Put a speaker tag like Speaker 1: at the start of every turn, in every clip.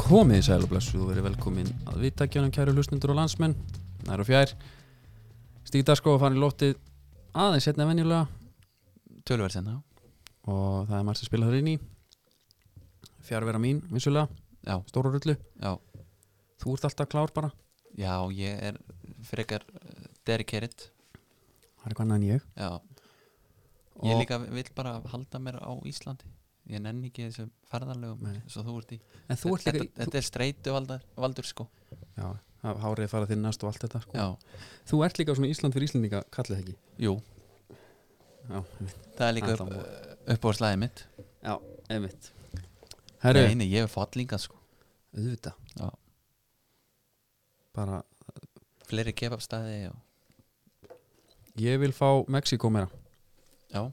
Speaker 1: komið í sæl og blessu og verið velkomin að vittakjönum kæru hlustundur og landsmenn nær og fjær Stík Daskófa fann í lóttið aðeins setna venjulega
Speaker 2: Tölverð
Speaker 1: hérna,
Speaker 2: senna
Speaker 1: og það er margt að spila þar inn í fjárvera mín, vissulega,
Speaker 2: Já,
Speaker 1: stóra rullu
Speaker 2: já,
Speaker 1: þú ert alltaf klár bara,
Speaker 2: já, ég er frekar eh, dedicated
Speaker 1: það er eitthvað annað en ég
Speaker 2: Já,
Speaker 1: og
Speaker 2: ég líka vill bara halda mér á Íslandi Ég nenni ekki þessum ferðarlegum
Speaker 1: Nei.
Speaker 2: Svo þú ert í
Speaker 1: en þú ert
Speaker 2: Þetta,
Speaker 1: líka þú,
Speaker 2: þetta er streitu valdur, valdur sko
Speaker 1: já, það- hárið fara þinnast og allt þetta sko.
Speaker 2: Já,
Speaker 1: þú ert líka svona Ísland fyrir Íslendinga, kallið ekki
Speaker 2: jú,
Speaker 1: já,
Speaker 2: það er líka upp,
Speaker 1: Alla
Speaker 2: upp á slæði mitt
Speaker 1: já einmitt
Speaker 2: Herru.
Speaker 1: herru,
Speaker 2: Nei, nei, ég hef fallingað sko
Speaker 1: auðvitað
Speaker 2: Já.
Speaker 1: bara,
Speaker 2: Fleiri kebabstæði og
Speaker 1: ég vil fá Mexiko meira
Speaker 2: Já,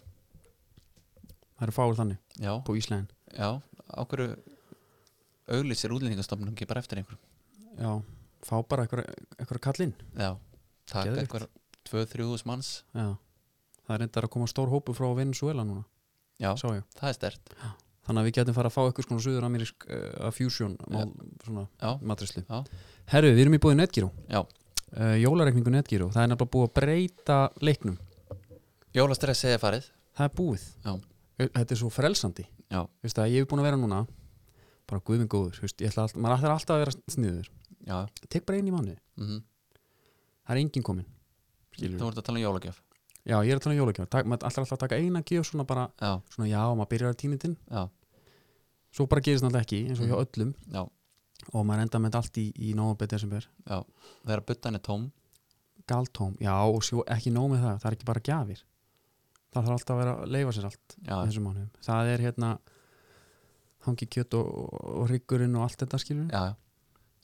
Speaker 1: það eru fáir þannig,
Speaker 2: já,
Speaker 1: på Ísland
Speaker 2: já Á hverju auglýsir útlendingastofnum ekki bara eftir einhverjum
Speaker 1: já, fá bara eitthvað kallinn
Speaker 2: Já, taka
Speaker 1: Geðveikt.
Speaker 2: einhver 2-3 hús manns
Speaker 1: já, það er reyndar að koma stór hópu frá Venezuela núna,
Speaker 2: Já,
Speaker 1: sá ég
Speaker 2: það er stert
Speaker 1: þannig að við getum fara að fá eitthvað svona suður amerísk uh, fusion mál, svona
Speaker 2: Já,
Speaker 1: matrislu
Speaker 2: Já.
Speaker 1: herru, við erum í búið Netgyro
Speaker 2: Já.
Speaker 1: uh, jólarekningu Netgyro, það er nefnilega búið að breyta leiknum,
Speaker 2: Jólastressið er farið
Speaker 1: það er búið
Speaker 2: Já.
Speaker 1: Eh, þetta er svo frelsandi
Speaker 2: Já,
Speaker 1: Veistu að ég hef búin að vera núna bara guðminn góður, veist, ég ætla alltaf, maður ætlar alltaf að vera sniður
Speaker 2: já
Speaker 1: tek bara einn í mánu,
Speaker 2: mm
Speaker 1: það er enginn kominn skilur
Speaker 2: Þú ert að tala um jólagjöf
Speaker 1: já, ég er að tala um jólagjöf, Tak- maður ætlar alltaf að taka eina gjöf svona bara,
Speaker 2: Já,
Speaker 1: svona já, maður byrjar að tína tinn
Speaker 2: já,
Speaker 1: svo bara gerist náttúrulega ekki, eins og
Speaker 2: Mhm.
Speaker 1: hjá öllum
Speaker 2: já,
Speaker 1: og maður enda með þetta allt í, í nóvambið desember,
Speaker 2: já Þegar buttan er tóm
Speaker 1: galtóm, já og svo ekki nóg með það, það er ekki bara gjafir það þarf alltaf að vera að leifa sér allt
Speaker 2: Já,
Speaker 1: í þessum mánuðum, það er hérna hangi kjött og, og ryggurinn og allt þetta skilur,
Speaker 2: já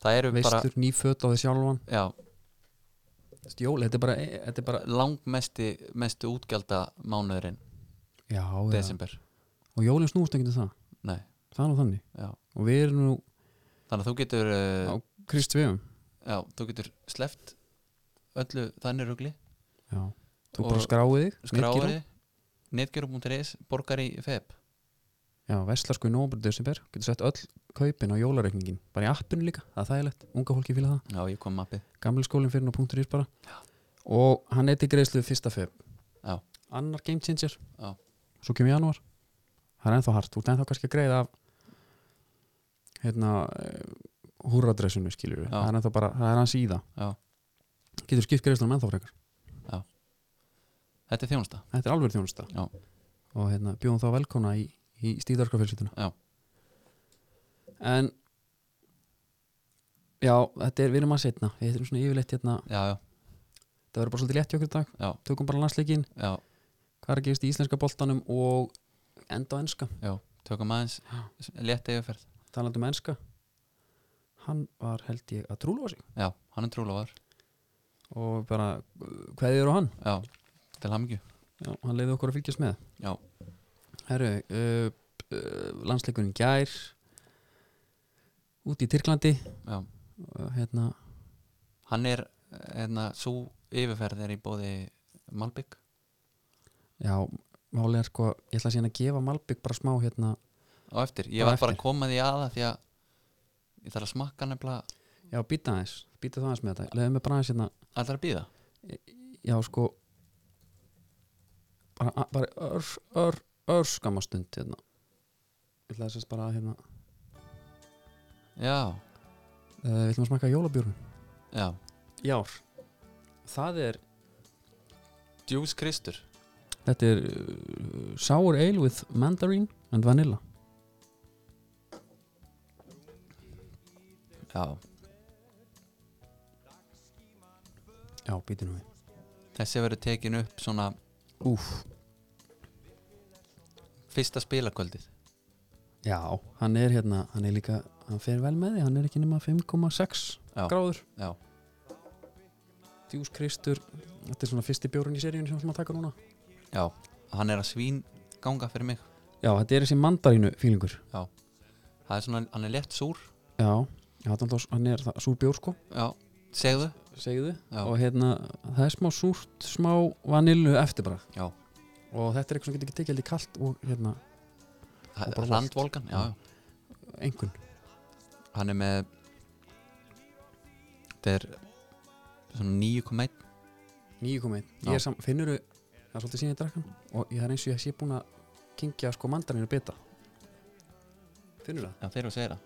Speaker 2: Það eru bara
Speaker 1: veistur, nýföt á því sjálfan
Speaker 2: já,
Speaker 1: Stjóli, þetta er bara, e, þetta er bara
Speaker 2: Langmesti mestu útgjalda mánuðurinn
Speaker 1: já, já.
Speaker 2: Desember
Speaker 1: og jólinn snúst ekki til það
Speaker 2: Nei,
Speaker 1: það er nú þannig
Speaker 2: já
Speaker 1: og við erum nú
Speaker 2: Þannig að þú getur uh,
Speaker 1: Á- Krist Sveum
Speaker 2: Já, þú getur sleppt öllu þannig rugli
Speaker 1: já. þú
Speaker 2: Og
Speaker 1: bara skráið þig netgíró.
Speaker 2: Skráði netgjörum.is borgar í feb
Speaker 1: já, vesla sko í nómur desember getur sett öll kaupin á jólareikningin bara í appinu líka, það er þægilegt, unga fólki fíla það
Speaker 2: Já, ég kom mappið
Speaker 1: gamli skólinn fyrir ná punktur ís bara og hann er til greiðslu fyrsta feb
Speaker 2: Já.
Speaker 1: annar game changer
Speaker 2: Já.
Speaker 1: svo kemur januar það er ennþá hart, þú ert ennþá kannski að greiða af hérna húradressinu skilur
Speaker 2: Já.
Speaker 1: það er ennþá bara, það er hans í það
Speaker 2: Já,
Speaker 1: getur skipt greiðslunum ennþá frekar
Speaker 2: þetta er þjónusta
Speaker 1: þetta er alveg þjónusta
Speaker 2: Já.
Speaker 1: og hérna, bjóðum þá velkona í, í stíðarskafjölsýtuna
Speaker 2: Já.
Speaker 1: en já, þetta er, við erum að setna við erum svona yfirleitt hérna,
Speaker 2: Já, já,
Speaker 1: það verður bara svolítið létt í okkur í dag
Speaker 2: já,
Speaker 1: tökum bara landsleikin,
Speaker 2: já,
Speaker 1: hvað er að gefist í íslenska boltanum og enda á enska
Speaker 2: já Tökum aðeins létt yfirferð
Speaker 1: talandi um enska hann var held ég að trúlóa sig
Speaker 2: Já, hann er trúlega var
Speaker 1: og bara, hvað er á hann?
Speaker 2: Já, til hamingju
Speaker 1: Já, hann leiði okkur að fylgjast með
Speaker 2: Já.
Speaker 1: Herru, uh, uh, landsleikurinn gær úti í Tyrklandi
Speaker 2: Já.
Speaker 1: uh, hérna,
Speaker 2: Hann er, hérna, svo yfirferð er í bóði Malbygg
Speaker 1: já, málega sko ég ætla að síðan að gefa Malbygg bara smá hérna,
Speaker 2: á eftir, ég
Speaker 1: Á
Speaker 2: var bara
Speaker 1: eftir.
Speaker 2: að koma því aða því að ég þarf að smakka nefnilega
Speaker 1: já, býta aðeins, býta það aðeins með þetta leiðum við bara aðeins hérna,
Speaker 2: Alltaf að býða
Speaker 1: já sko bara, bara ör, ör, ör skamastund hérna ég ætla að sérst bara að hérna uh,
Speaker 2: Já,
Speaker 1: Eh, við ætlum að smakka jólabjörn
Speaker 2: já,
Speaker 1: jár, það er
Speaker 2: Djús Kristur
Speaker 1: Þetta er uh, Sour Ale with Mandarin and Vanilla
Speaker 2: Já,
Speaker 1: Já, býti nú við
Speaker 2: þessi verður tekin upp svona
Speaker 1: Úf,
Speaker 2: fyrsta spilakvöldið
Speaker 1: já, hann er hérna hann er líka, hann fer vel með því hann er ekki nema 5,6
Speaker 2: Já.
Speaker 1: gráður
Speaker 2: Já.
Speaker 1: Djús Kristur Þetta er svona fyrsti bjórun í seríun sem við ætlum að taka núna
Speaker 2: Já, hann er að svín ganga fyrir mig
Speaker 1: Já, þetta er þessi mandarínu fílingur
Speaker 2: Það er svona, hann er létt súr
Speaker 1: Já, já þetta er alltaf, hann er það, súr bjór sko
Speaker 2: Já, segðu
Speaker 1: segðu
Speaker 2: Já.
Speaker 1: og hérna, það er smá súrt smá vanillu eftir bara
Speaker 2: Já.
Speaker 1: og þetta er eitthvað sem getur ekki tekið held í kalt og hérna,
Speaker 2: Ha-
Speaker 1: Og bara
Speaker 2: Landvolgan, já, já
Speaker 1: einhvern
Speaker 2: hann er með þetta er svona 9,1
Speaker 1: 9,1 Ég
Speaker 2: Já.
Speaker 1: er sam, finnur það er svolítið síðan ég drakk hann og ég það er eins og ég sé búin að kingja sko mandarinu bita Finnur það?
Speaker 2: Já, þeir eru að segja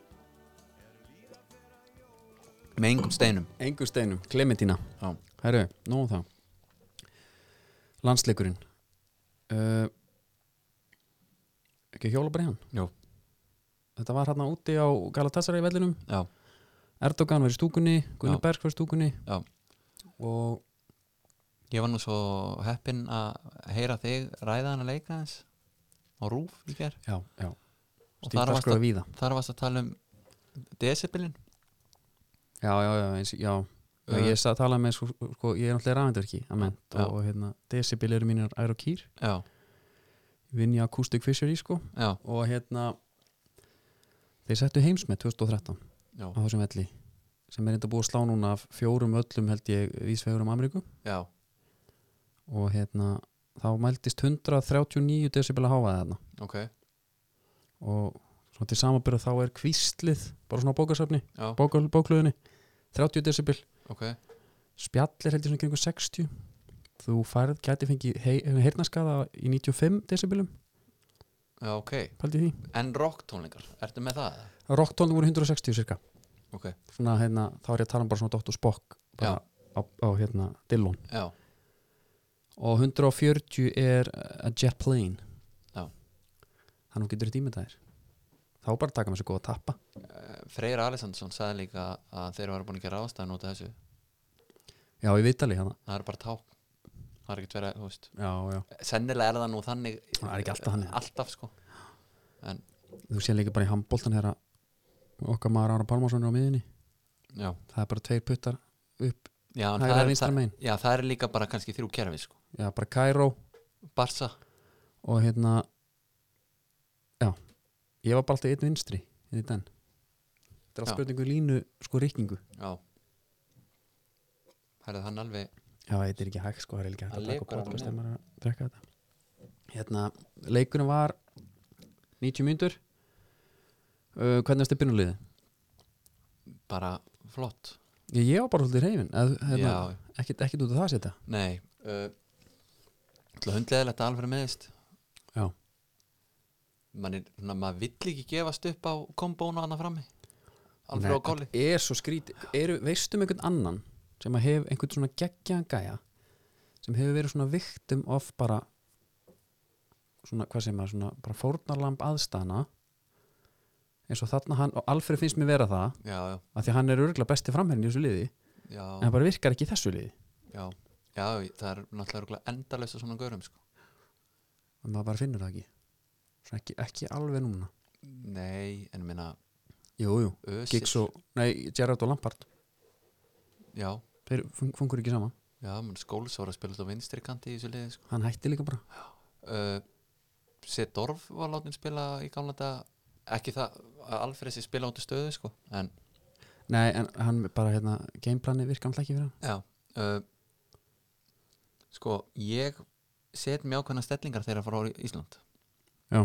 Speaker 2: það Með engum steinum
Speaker 1: Engu steinum, Clementina
Speaker 2: Já.
Speaker 1: Herru, nóg um það Landsleikurinn uh, Ekki hjóla bara í hann?
Speaker 2: Jú.
Speaker 1: Þetta var hérna úti á Galatasaray vellinum
Speaker 2: Já,
Speaker 1: Erdogan var í stúkunni, Gunni
Speaker 2: Já.
Speaker 1: Berg var í stúkunni
Speaker 2: Já.
Speaker 1: og
Speaker 2: ég var nú svo heppinn að heyra þig ræða hann að leika hans á rúf í fyrr
Speaker 1: já, já.
Speaker 2: Og
Speaker 1: Stíf
Speaker 2: þar varst
Speaker 1: dagskráði víða
Speaker 2: Þar varst að tala um decibelin
Speaker 1: Já, já, já, eins, já. Uh.
Speaker 2: Uh,
Speaker 1: Ég sa- talaði með, sko, sko, ég er náttúrulega rafendverki að ment
Speaker 2: Já.
Speaker 1: og, og hérna, decibel eru mínir ær og kýr,
Speaker 2: Já,
Speaker 1: vinn ég acoustic fishery sko
Speaker 2: já,
Speaker 1: og hérna þeir settu heimsmet 2013
Speaker 2: já,
Speaker 1: á þessum velli sem er enda búið að slá núna af fjórum öllum held ég vísvegurum Ameríku
Speaker 2: já.
Speaker 1: og hérna þá mæltist 139 decibel að háaði þarna
Speaker 2: ok
Speaker 1: og svona til samanbyrða þá er kvíslið bara svona á bókasöfni,
Speaker 2: Já,
Speaker 1: bókal, bókluðinni 30 decibel,
Speaker 2: ok,
Speaker 1: spjall er held ég svona kringu 60 þú færð, gæti fengið hei- heyrnarskaða í 95 decibelum,
Speaker 2: já, ok
Speaker 1: paldi því
Speaker 2: En rocktónleikar, ertu með það? eða?
Speaker 1: rocktónum voru 160 cirka
Speaker 2: Ok,
Speaker 1: svona, hérna, þá er ég að tala um bara svona Dr. Spock bara á, á hérna Dillon
Speaker 2: já,
Speaker 1: og 140 er uh, a jet plane
Speaker 2: Já.
Speaker 1: þannig getur þetta ímyndað þér þá bara taka maður sér góða að tappa
Speaker 2: Eh, Freyr Alessandsson sagði líka að þeir eru búin að gera ástæðan út af þessu
Speaker 1: já, í vitali hérna
Speaker 2: það er bara ták það er ekkert verið, þú veist
Speaker 1: já, já.
Speaker 2: sennilega er það nú þannig
Speaker 1: Það er ekki alltaf þannig.
Speaker 2: alltaf sko
Speaker 1: þú sé líka bara í handbóltan hérna okkar maður Ára Pálmarsson er á miðinni
Speaker 2: já,
Speaker 1: það er bara tveir puttar upp
Speaker 2: já, en
Speaker 1: hægra
Speaker 2: það, er,
Speaker 1: vinstra
Speaker 2: það,
Speaker 1: megin
Speaker 2: já það er líka bara kannski þrjú kerfi sko
Speaker 1: já, bara Cairo
Speaker 2: Barsa,
Speaker 1: og hérna já, ég var bara alltaf einn vinstri í den þetta er
Speaker 2: Já.
Speaker 1: allt spurningu línu sko rikkingu
Speaker 2: já það er hann alveg
Speaker 1: Já, þetta er ekki hægt sko, það er ekki hægt
Speaker 2: Það
Speaker 1: að taka
Speaker 2: lekur alveg
Speaker 1: podcast
Speaker 2: með.
Speaker 1: þegar maður er að drekka þetta Hérna, leikurinn var 90 mínútur uh, Hvernig er stipinulegið?
Speaker 2: bara flott
Speaker 1: Ég, ég var bara svolítið reyfin hérna,
Speaker 2: já,
Speaker 1: ekkert, ekkert út af það að setja
Speaker 2: nei uh, hundleðilegt að alveg meðist
Speaker 1: Já.
Speaker 2: Man er, svona, maður vill ekki gefast upp á kombónu annað frammi alveg á kóli
Speaker 1: þetta Er svo skrít, er, veistum um einhvern annan sem að hef einhvern svona geggjaðan gæja sem hefur verið svona viktum of bara svona, hvað segir maður, svona bara fórnarlamb aðstana eins og þarna hann, og Alfred finnst mér vera það
Speaker 2: já, já,
Speaker 1: af því að hann er örgulega besti framherrin í þessu liði
Speaker 2: já,
Speaker 1: en það bara virkar ekki í þessu liði
Speaker 2: já, já það er náttúrulega endalösa svona gaurum sko
Speaker 1: en maður bara finnur það ekki Svo ekki, ekki alveg núna
Speaker 2: Nei, en ég meina
Speaker 1: jú, jú.
Speaker 2: Ösil
Speaker 1: Giggs og, nei, Gerrard og Lampard
Speaker 2: Já,
Speaker 1: þeir fun fungur ekki saman
Speaker 2: já, menn Skóls var að spila þetta á vinstri kanti í þessu liði sko.
Speaker 1: hann hætti líka bara
Speaker 2: uh, Sedorf var látin spila í gamla þetta ekki það að Alfresi spila út í stöðu sko. en
Speaker 1: nei, en hann bara, hérna, gameplani virkar alltaf ekki fyrir hann
Speaker 2: já uh, sko, ég set mjög ákveðna stellingar þegar að fara á Ísland
Speaker 1: Já.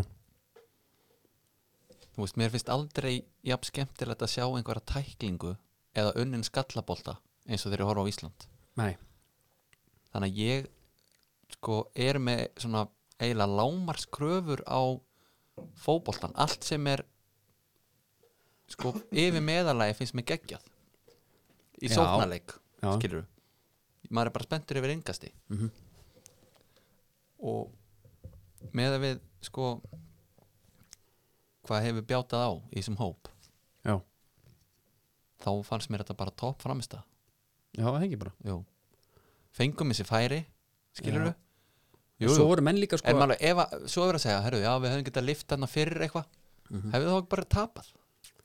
Speaker 2: Þú veist, mér finnst aldrei jafn skemmtilegt að sjá einhverja tæklingu eða unnin skallabolta eins og þeir eru að horfa á Ísland
Speaker 1: nei,
Speaker 2: þannig að ég sko er með svona eiginlega lámarskröfur á fótboltan, allt sem er sko yfir meðalagi finnst mér geggjað í
Speaker 1: Já.
Speaker 2: sóknarleik,
Speaker 1: já,
Speaker 2: skilur maður er bara spenntur yfir yngasti
Speaker 1: mm
Speaker 2: og með að við sko hvað hefur bjátað á í þessum hóp
Speaker 1: já
Speaker 2: þá fannst mér þetta bara topp framist að
Speaker 1: já, það ekki bara
Speaker 2: jú. fengum þessi færi skilur
Speaker 1: Já. svo voru menn líka sko
Speaker 2: En maður, ef að, svo er að segja, herru, já, við höfum getað lift hann fyrir eitthvað,
Speaker 1: Mhm.
Speaker 2: hefur þá ekki bara tapað?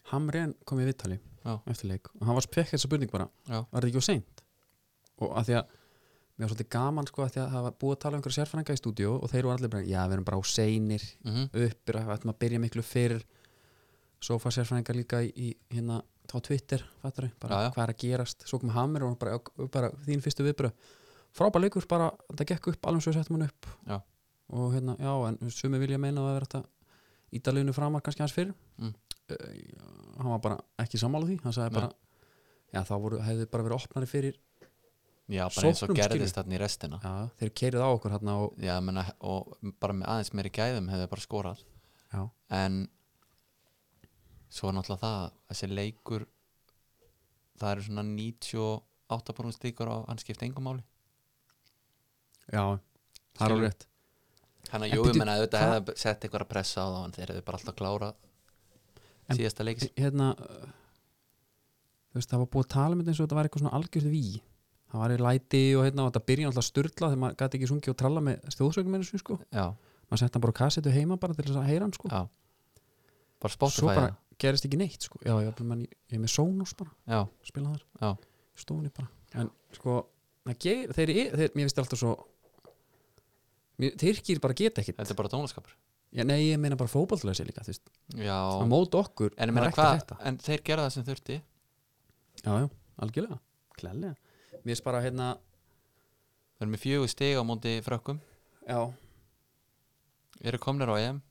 Speaker 1: Hamrén kom í viðtali
Speaker 2: Já.
Speaker 1: eftir leik og hann var spekk þessa spurning bara
Speaker 2: Já.
Speaker 1: var þetta ekki á seint og að því að mér var svolítið gaman sko að því að það var búið að tala um einhverja sérfrænga í stúdíu og þeir voru allir bara já við erum bara á seinir
Speaker 2: Mm
Speaker 1: uppir að við ætlum að byrja miklu fyrr sofasérfræðingar líka í, í hérna á Twitter, fattur bara
Speaker 2: Já, já.
Speaker 1: hvað er að gerast, svo kom Hamir og bara, bara þín fyrstu viðbröð frábær leikur bara, þetta gekk upp alveg svo við settum hann upp
Speaker 2: Já.
Speaker 1: og hérna, já, en sumi vilja meina að það vera þetta ídaliðinu framar kannski hans fyrr
Speaker 2: Mm.
Speaker 1: Eh, já, hann var bara ekki sammála því hann sagði
Speaker 2: Nei.
Speaker 1: bara já þá voru, hefði bara verið opnari fyrir
Speaker 2: já, bara eins og
Speaker 1: Sóknum, skilur.
Speaker 2: gerðist þarna í restina
Speaker 1: já, þeir keirið á okkur hérna og
Speaker 2: já, menna, og bara með aðeins meiri gæðum hefði bara skorað
Speaker 1: já,
Speaker 2: en svo er náttúrulega það þessi leikur það eru svona 98 brúnst líkur á hann skipti engum máli
Speaker 1: já það er
Speaker 2: Skilur.
Speaker 1: alveg rétt
Speaker 2: þannig
Speaker 1: En
Speaker 2: að jú,
Speaker 1: bíddu,
Speaker 2: ég menna auðvitað
Speaker 1: hvað-
Speaker 2: hefði sett eitthvað að pressa á þá en þeir hefði bara alltaf klára
Speaker 1: En-
Speaker 2: síðasta leikis
Speaker 1: hérna uh, þú veist, það var búið að tala um þetta eins og þetta var eitthvað svona algjörð ví það var í læti og hérna og þetta byrja alltaf styrla þegar maður gæti ekki sungið og tralla með stjóðsögnum einu sinni sko
Speaker 2: já,
Speaker 1: maður sett hann bara á kassetu heima bara til þess að heyra hann sko
Speaker 2: já bara
Speaker 1: svo
Speaker 2: Spotify
Speaker 1: bara gerist ekki neitt sko já, já, menn, ég, ég er með Sonos bara,
Speaker 2: já,
Speaker 1: spila þar
Speaker 2: Já.
Speaker 1: Í stofunni bara en sko, það ger, þeir, e, þeir, þeir mér finnst alltaf svo mér, þeir bara geta ekkit
Speaker 2: þetta er bara tónlaskapur
Speaker 1: já, nei, ég meina bara fótballtlösi líka þú veist,
Speaker 2: já,
Speaker 1: á mót okkur
Speaker 2: en, ég
Speaker 1: það er
Speaker 2: meina,
Speaker 1: ekki
Speaker 2: hvað,
Speaker 1: þetta
Speaker 2: en þeir gerða það sem þurfti
Speaker 1: já, já, algjörlega, klælega mér finnst bara hérna,
Speaker 2: þeir eru með fjögur stig á móti frökkum
Speaker 1: já,
Speaker 2: eru komnir á EM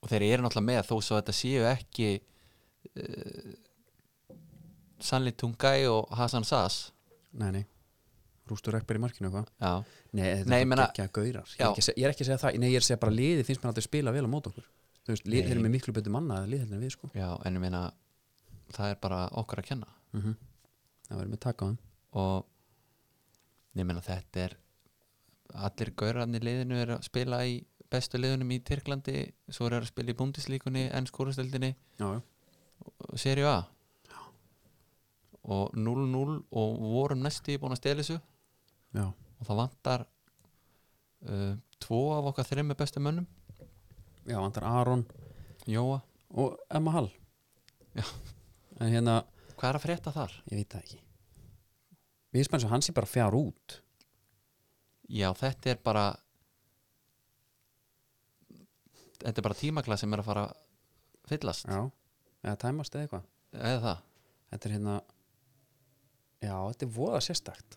Speaker 2: og þeir eru náttúrulega með þó svo þetta séu ekki uh, Sanli Tungai og Hasan Sass
Speaker 1: nei, nei rústur ekber í markinu eitthvað
Speaker 2: já,
Speaker 1: nei, þetta
Speaker 2: Nei,
Speaker 1: er bara
Speaker 2: meina-
Speaker 1: ekki að gaurar ég
Speaker 2: Já.
Speaker 1: er ekki, að se- ég er ekki að segja það, nei, ég er að segja bara liði finnst mér aldrei spila vel á mót okkur þú veist, lið,
Speaker 2: Nei.
Speaker 1: þeir eru með miklu betur manna að liðhelna við sko
Speaker 2: já, en ég meina það er bara okkur að kenna
Speaker 1: mm það verður með taka á þeim
Speaker 2: og ég meina þetta er allir gaurarnir liðinu er að spila í bestu liðunum í Tyrklandi svo eru þeir að spila í búndislíkunni, ennskórastöldinni
Speaker 1: já, já.
Speaker 2: og Serie A og 0-0 og vorum næstu búin að stela þessu
Speaker 1: Já.
Speaker 2: og það vantar uh, tvo af okkar þreim með bestu mönnum
Speaker 1: já, vantar Aron
Speaker 2: Jóa,
Speaker 1: og Emma Hall
Speaker 2: Já.
Speaker 1: en hérna,
Speaker 2: hvað er að frétta þar?
Speaker 1: ég veit það ekki við spennum svo hann sé bara fjár út
Speaker 2: Já, þetta er bara þetta er bara tímakla sem er að fara að fyllast,
Speaker 1: já, eða tæmast eða eitthvað
Speaker 2: eða það
Speaker 1: þetta er hérna já, þetta er voða sérstakt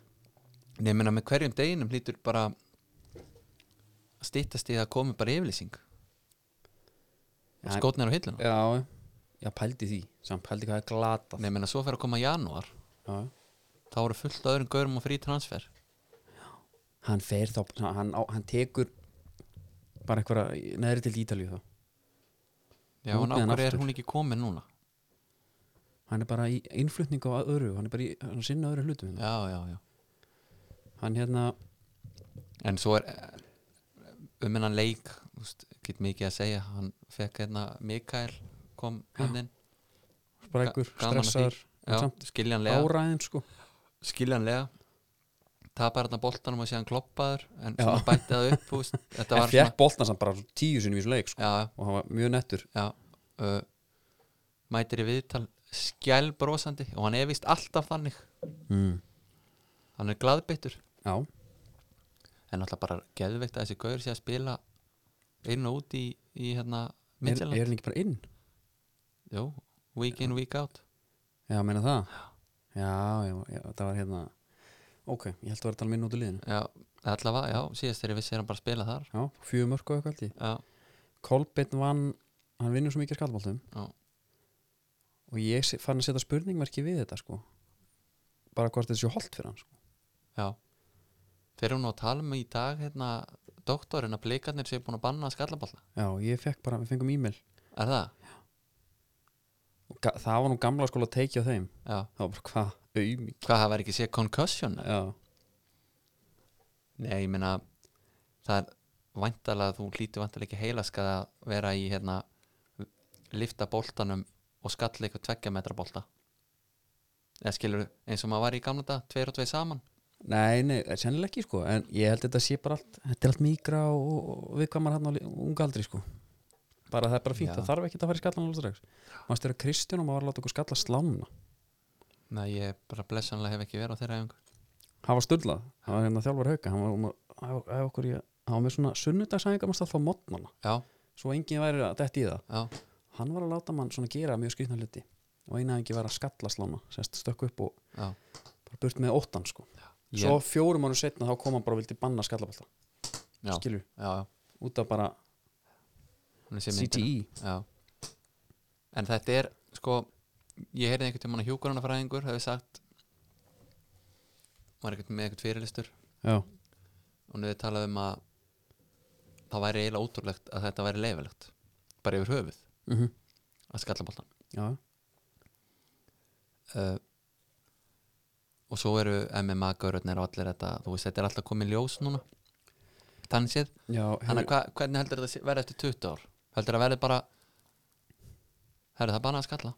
Speaker 2: Nei, ég meina með hverjum deginum hlýtur bara að stýttast í að komi bara yfirlýsing og
Speaker 1: Já.
Speaker 2: skotnir á hilluna
Speaker 1: já, já, pældi því samt pældi hvað er glatað
Speaker 2: Nei, ég meina svo fer að koma janúar
Speaker 1: já.
Speaker 2: þá eru fullt af öðrum gaurum og frí transfer
Speaker 1: hann fer þá, hann, á, hann tekur bara einhverja neðri til Ítalíu þá
Speaker 2: Já,
Speaker 1: Út
Speaker 2: en
Speaker 1: með hann
Speaker 2: ákvör er
Speaker 1: aftur.
Speaker 2: hún ekki komin núna
Speaker 1: hann er bara í innflutning á öðru hann er bara í, hann er að sinna öðru hlutum hérna.
Speaker 2: Já, já, já
Speaker 1: hann hérna,
Speaker 2: En svo er eh, um hennan leik þú veist, get mikið að segja hann fekk hérna Mikael kom hann inn
Speaker 1: sprækur,
Speaker 2: Ga- gaman að því.
Speaker 1: stressaður en
Speaker 2: Já,
Speaker 1: samt
Speaker 2: skiljanlega,
Speaker 1: áræðin sko
Speaker 2: skiljanlega tapar hérna boltanum og sé hann kloppaður en
Speaker 1: Já.
Speaker 2: svona bætti það upp þú veist, þetta
Speaker 1: en
Speaker 2: var svona
Speaker 1: fjekk boltan samt bara tíu sinni í þessu leik sko.
Speaker 2: já, já,
Speaker 1: og hann var mjög nettur
Speaker 2: já, uh, mætir í viðtal skjælbrosandi og hann er vist alltaf þannig
Speaker 1: mm.
Speaker 2: Hmm. hann er glaðbyttur
Speaker 1: já,
Speaker 2: en alltaf bara geðveikt að þessi gaur sé að spila inn og út í, í hérna
Speaker 1: er, er
Speaker 2: Midtjylland
Speaker 1: hann ekki bara inn?
Speaker 2: Jú, week in, week out
Speaker 1: já, meina það já, já, já það var hérna ok, ég held að vera að tala minn út í liðinu
Speaker 2: já, allavega, já, síðast þegar ég vissi er hann bara að spila þar
Speaker 1: já, fjögur mörg og eitthvað held ég.
Speaker 2: já,
Speaker 1: Kolbeinn vann, hann vinnur svo mikið skallbóltum
Speaker 2: Já.
Speaker 1: og ég se- fann að setja spurningmerki við þetta sko bara hvort þetta sé holdt fyrir hann sko.
Speaker 2: já þegar hún á að tala um í dag hérna, doktorinn að blikarnir séu búin að banna skallaballa,
Speaker 1: já, ég fekk bara, við fengum e-mail
Speaker 2: er það?
Speaker 1: Og ga- það var nú gamla skóla að teikja á þeim
Speaker 2: já,
Speaker 1: það var bara hvað, auðmík
Speaker 2: hvað hafa þeir ekki séð concussion?
Speaker 1: já,
Speaker 2: Nei, ég meina það er vantalega þú hlýtur vantalega ekki heilaskað að vera í hérna lifta boltanum og skalla eitthvað tveggja metra bolta eða skilur eins og maður var í gamla dag, tveir og tveir saman
Speaker 1: Nei, nei, það er sennilega ekki sko en ég held þetta sé bara allt, þetta er allt mýgra og, og- og viðkvæmar hann á li- unga aldri sko bara það er bara fínt,
Speaker 2: Já.
Speaker 1: það þarf ekki að fara í skallan alveg strax maður styrir Kristján og maður var að láta okkur skalla slána
Speaker 2: Nei, ég bara blessanlega hef ekki verið á þeirra æfingu
Speaker 1: hann var stöldlað, hann var hérna þjálfur hauka hann var, um að- hann var, hann var, hann var með svona sunnudagsæðingar maður státt á mótnana
Speaker 2: Já,
Speaker 1: svo enginn væri að detti í það
Speaker 2: já,
Speaker 1: hann var að láta mann svona gera mjög skrýtna hluti og eina engi var að skalla slána sérst stökk upp og
Speaker 2: já
Speaker 1: bara burt með óttan sko
Speaker 2: Ég-
Speaker 1: svo fjórum árum setna þá kom hann bara og vildi banna skallaballta
Speaker 2: Já, já,
Speaker 1: skilur,
Speaker 2: já
Speaker 1: út af bara
Speaker 2: E. hún er sér myndina.
Speaker 1: CTE
Speaker 2: Já, en þetta er sko ég heyrði einhvern tímann að hjúkurunafræðingur hefði sagt var einhvern með einhvern fyrirlistur
Speaker 1: já,
Speaker 2: og niður talað um að það væri eiginlega ótrúlegt að þetta væri leifilegt bara yfir höfuð
Speaker 1: mm
Speaker 2: að skalla boltan
Speaker 1: já,
Speaker 2: uh, og svo eru MMA gaurutnir og allir þetta þú veist þetta er alltaf komið ljós núna þannig séð,
Speaker 1: já hefur,
Speaker 2: þannig að hva, hvernig heldur þetta sé- verði eftir 20 ár, heldur það verði bara herri það bara að skalla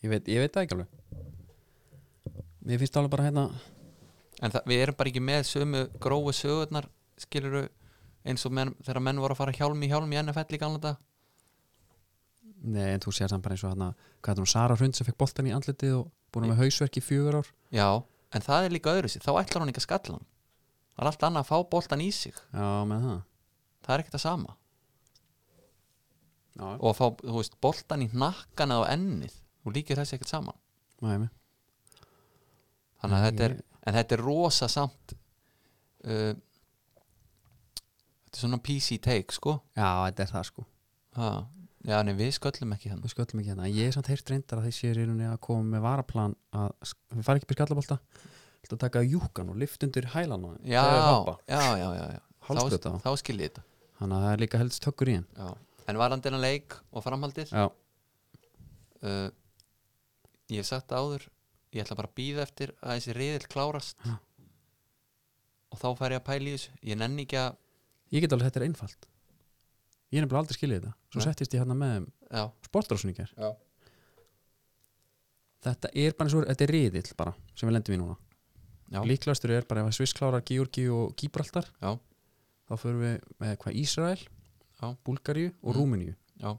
Speaker 1: ég, veit, ég veit það ekki alveg mér finnst alveg bara hérna
Speaker 2: en það, við erum bara ekki með sömu gróu sögurnar skiluru eins og menn, þegar menn voru að fara hjálm í hjálm í NFL í galna þetta
Speaker 1: nei, en þú sér samt bara eins og hérna hvað er hún, Sara Hrund sem fekk boltan í andlitið og búin að með hausverk í fjögur ár
Speaker 2: já, en það er líka öðru sér, þá ætlar hún ekki að skalla hann það er allt annað að fá boltan í sig
Speaker 1: já, með það
Speaker 2: það er ekkert það sama
Speaker 1: já,
Speaker 2: og að fá, þú veist, boltan í hnakkan eða á ennið, þú líkir þessi ekkert saman
Speaker 1: næmi
Speaker 2: þannig að
Speaker 1: Nei,
Speaker 2: þetta er, en þetta er rosa samt uh, þetta er svona PC take, sko
Speaker 1: já, þetta er það sko
Speaker 2: ha, já, nei, við sköllum ekki hann
Speaker 1: við sköllum ekki hérna, en ég er samt heyrt reyndar að þeir séu í rauninni að koma með varaplan að sk- við fara ekki upp í skallabolta þetta taka júkan og lift undir hælan á þeim
Speaker 2: já,
Speaker 1: þegar þeir hoppa.
Speaker 2: já, já, já, já.
Speaker 1: Hálsbrjóta
Speaker 2: þá,
Speaker 1: á.
Speaker 2: þá skil ég þetta
Speaker 1: þannig að það er líka helst tökkur í henn
Speaker 2: já. en varandi hann leik og framhaldið
Speaker 1: já,
Speaker 2: uh, ég hef sagt það áður ég ætla bara að býða eftir að þessi riðil klárast
Speaker 1: Já.
Speaker 2: og þá fær ég að pæla í þessu ég nenni ekki að,
Speaker 1: ég get alveg þetta er einfalt ég er nefnilega aldrei skiljið þetta svo
Speaker 2: Nei.
Speaker 1: settist ég hérna með þeim
Speaker 2: já,
Speaker 1: sportrásuningar
Speaker 2: Já.
Speaker 1: þetta er bara eins og þetta er riðill bara sem við lendum í núna
Speaker 2: Já.
Speaker 1: líklegastur er bara ef að Sviss klárar Georgi og Gíbraltar
Speaker 2: Já.
Speaker 1: þá förum við með hvað Ísrael
Speaker 2: Já.
Speaker 1: Búlgaríu og
Speaker 2: Mm.
Speaker 1: Rúmeníu
Speaker 2: Já.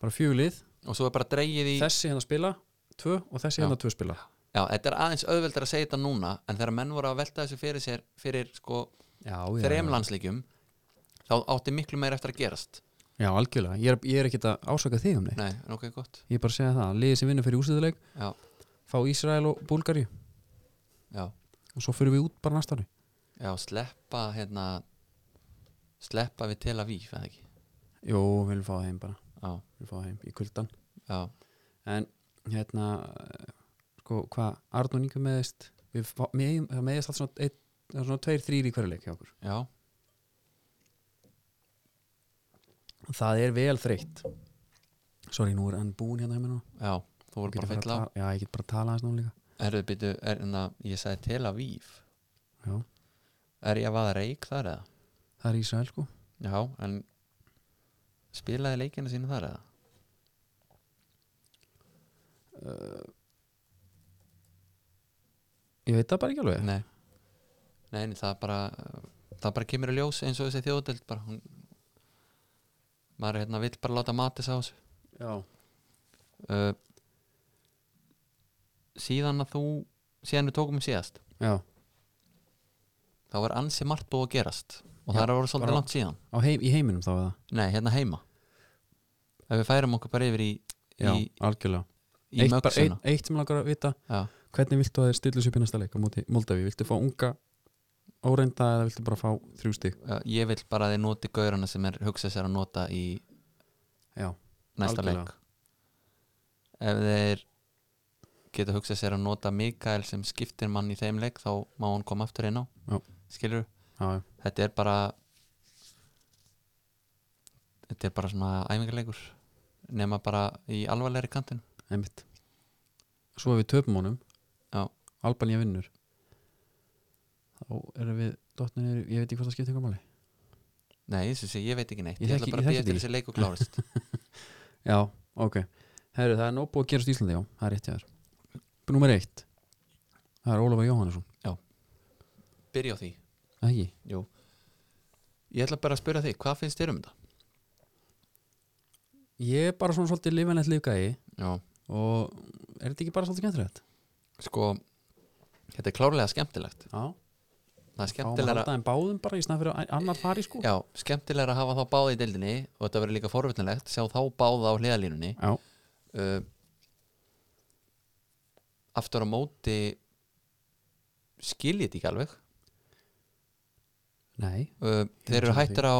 Speaker 1: bara fjögulið,
Speaker 2: og svo er bara dreigið í
Speaker 1: þessi hérna spila tvö og þessi
Speaker 2: Já.
Speaker 1: hérna tvö spila
Speaker 2: Já, þetta er aðeins auðveldur að segja þetta núna en þegar menn voru að velta þessu fyrir sér fyrir sko
Speaker 1: já,
Speaker 2: þreim landsleikjum þá átti miklu meir eftir að gerast
Speaker 1: já algjörlega, ég er, ég er ekkert að ásaka þig um neitt
Speaker 2: Nei, en ok, gott
Speaker 1: ég er bara að segja það, liðið sem vinnur fyrir úsliðuleik
Speaker 2: Já,
Speaker 1: fá Ísrael og Búlgaríu
Speaker 2: já,
Speaker 1: og svo fyrir við út bara næsta ári
Speaker 2: já, sleppa hérna sleppa við Tel Aviv, eða ekki
Speaker 1: jú, við viljum fá það heim bara,
Speaker 2: Já,
Speaker 1: við viljum fá það heim í kuldan
Speaker 2: já,
Speaker 1: en hérna eh, sko, hvað Arnón Ingu meðist við fá- meðjum- það meðist alltaf svona, eitt, það er svona tveir, þrýr í hverju leik hjá okkur
Speaker 2: já,
Speaker 1: það er vel þreytt sorry, nú er hann búinn hérna heima nú
Speaker 2: já Þú voru bara að fylla á
Speaker 1: já, ég get bara að tala hans nú líka
Speaker 2: Erðu, býtu, er, na, ég sagði Tel Aviv
Speaker 1: já,
Speaker 2: Er ég að vaða reik þar eða?
Speaker 1: það er Ísrael sko
Speaker 2: Já, en spilaði leikina sínu þar eða?
Speaker 1: Uh, ég veit það bara ekki alveg
Speaker 2: Nei, nei, nei það bara það bara kemur í ljós eins og þessi þjóðdelt bara, hún maður hérna vill bara láta matis á þessu
Speaker 1: já,
Speaker 2: uh, síðan að þú síðan við tókum síðast
Speaker 1: já,
Speaker 2: þá var ansi margt búið að gerast og
Speaker 1: Já,
Speaker 2: það er að vera svolítið
Speaker 1: bara-
Speaker 2: langt síðan
Speaker 1: á heim, í heiminum þá eða
Speaker 2: nei, hérna heima ef við færum okkur bara yfir í,
Speaker 1: já,
Speaker 2: í,
Speaker 1: algjörlega
Speaker 2: í
Speaker 1: eitt, bara, eitt,
Speaker 2: mögsuna
Speaker 1: eitt sem langar að vita
Speaker 2: já,
Speaker 1: hvernig viltu að þeir stillu sér upp í næsta leik á móti Moldavi, viltu fá unga óreinda eða viltu bara fá þrjú stig
Speaker 2: já, ég vil bara að þið noti gaurana sem er hugsað sér að nota í
Speaker 1: já,
Speaker 2: næsta
Speaker 1: Algjörlega.
Speaker 2: leik ef þeir geta hugsað sér að nota Mikael sem skiptir mann í þeim leik þá má hann koma aftur inn á
Speaker 1: Já.
Speaker 2: skilur,
Speaker 1: já, já.
Speaker 2: þetta er bara þetta er bara svona æfingarleikur nema bara í alvarlegri kantin
Speaker 1: einmitt svo ef við töpum honum
Speaker 2: Já.
Speaker 1: Albanía vinnur þá erum við dottnir, ég veit ekki hvað það skiptir einhver máli
Speaker 2: nei, ég, sé, ég veit ekki neitt,
Speaker 1: Ég
Speaker 2: ég,
Speaker 1: þekki-
Speaker 2: ætla
Speaker 1: ég
Speaker 2: bara að
Speaker 1: þekki
Speaker 2: býja til
Speaker 1: þetta
Speaker 2: þessi leik og klárist
Speaker 1: já, ok, herru það er nóg búið að gerast í Íslandi já, það er rétt hjá þér nummer eitt, það er Ólafur Jóhannesson
Speaker 2: byrja á því,
Speaker 1: Það ekki,
Speaker 2: jú ég ætla bara að spyrja þig, hvað finnst þér um þetta?
Speaker 1: ég er bara svona svolítið lifanlegt lífgæði
Speaker 2: já,
Speaker 1: og er þetta ekki bara svolítið gættilegt?
Speaker 2: sko þetta er klárlega skemmtilegt
Speaker 1: Já,
Speaker 2: það er
Speaker 1: skemmtilega Fáum
Speaker 2: skemmtilegra
Speaker 1: haldaðin báðum bara í snæð fyrir að annar fari sko
Speaker 2: Já, skemmtilega að hafa þá báða í deildinni og þetta verður líka forvitnilegt, sjá þá báða á hliðalínunni
Speaker 1: Já.
Speaker 2: uh, Aftur á móti skil ég þetta ekki alveg
Speaker 1: Nei,
Speaker 2: uh, Þeir eru
Speaker 1: sammála því.
Speaker 2: hættir á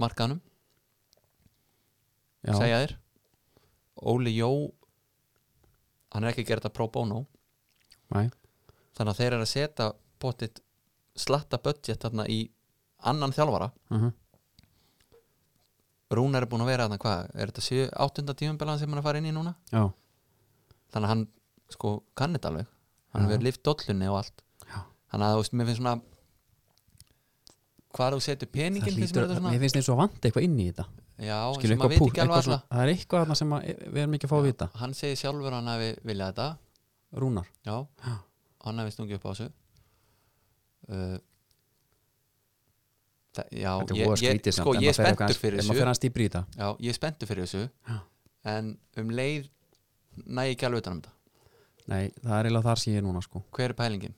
Speaker 2: markanum
Speaker 1: já,
Speaker 2: segja þér Óli Jó hann er ekki að gera þetta pro bono
Speaker 1: Nei.
Speaker 2: þannig að þeir eru að setja bóttið slatta budget þarna í annan þjálfara
Speaker 1: uh
Speaker 2: Rúnar er búin að vera þarna hvað er þetta sjö- áttunda tíumbelan sem hann er að fara inn í núna
Speaker 1: já,
Speaker 2: þannig að hann sko kann þetta alveg hann
Speaker 1: Já.
Speaker 2: hefur lift dollunni og allt
Speaker 1: Já.
Speaker 2: þannig að þú veist, mér finnst svona hvar þú setur peningin
Speaker 1: það
Speaker 2: finnst mér
Speaker 1: lítur,
Speaker 2: þetta
Speaker 1: mér
Speaker 2: svona
Speaker 1: finnst eins og vant eitthvað inn í þetta
Speaker 2: já,
Speaker 1: Skilur,
Speaker 2: sem maður veit
Speaker 1: púkk,
Speaker 2: ekki alveg
Speaker 1: eitthvað svona,
Speaker 2: alltaf
Speaker 1: það er eitthvað þarna sem að, við erum ekki að fá að vita
Speaker 2: hann segir sjálfur að hann hafi viljað þetta
Speaker 1: Rúnar,
Speaker 2: já,
Speaker 1: Já.
Speaker 2: hann hafi stungið upp á þessu uh, það, já,
Speaker 1: þetta er
Speaker 2: ég,
Speaker 1: voða
Speaker 2: ég,
Speaker 1: skrítið
Speaker 2: sko, ég er spenntur fyrir
Speaker 1: ef maður
Speaker 2: þessu
Speaker 1: fer hans dýpri í þetta
Speaker 2: já, ég er spenntur fyrir þessu
Speaker 1: Já.
Speaker 2: en um leið næ ég ekki alveg utan um þetta
Speaker 1: nei, það er eiginlega þar sem ég er núna sko
Speaker 2: hver er pælingin?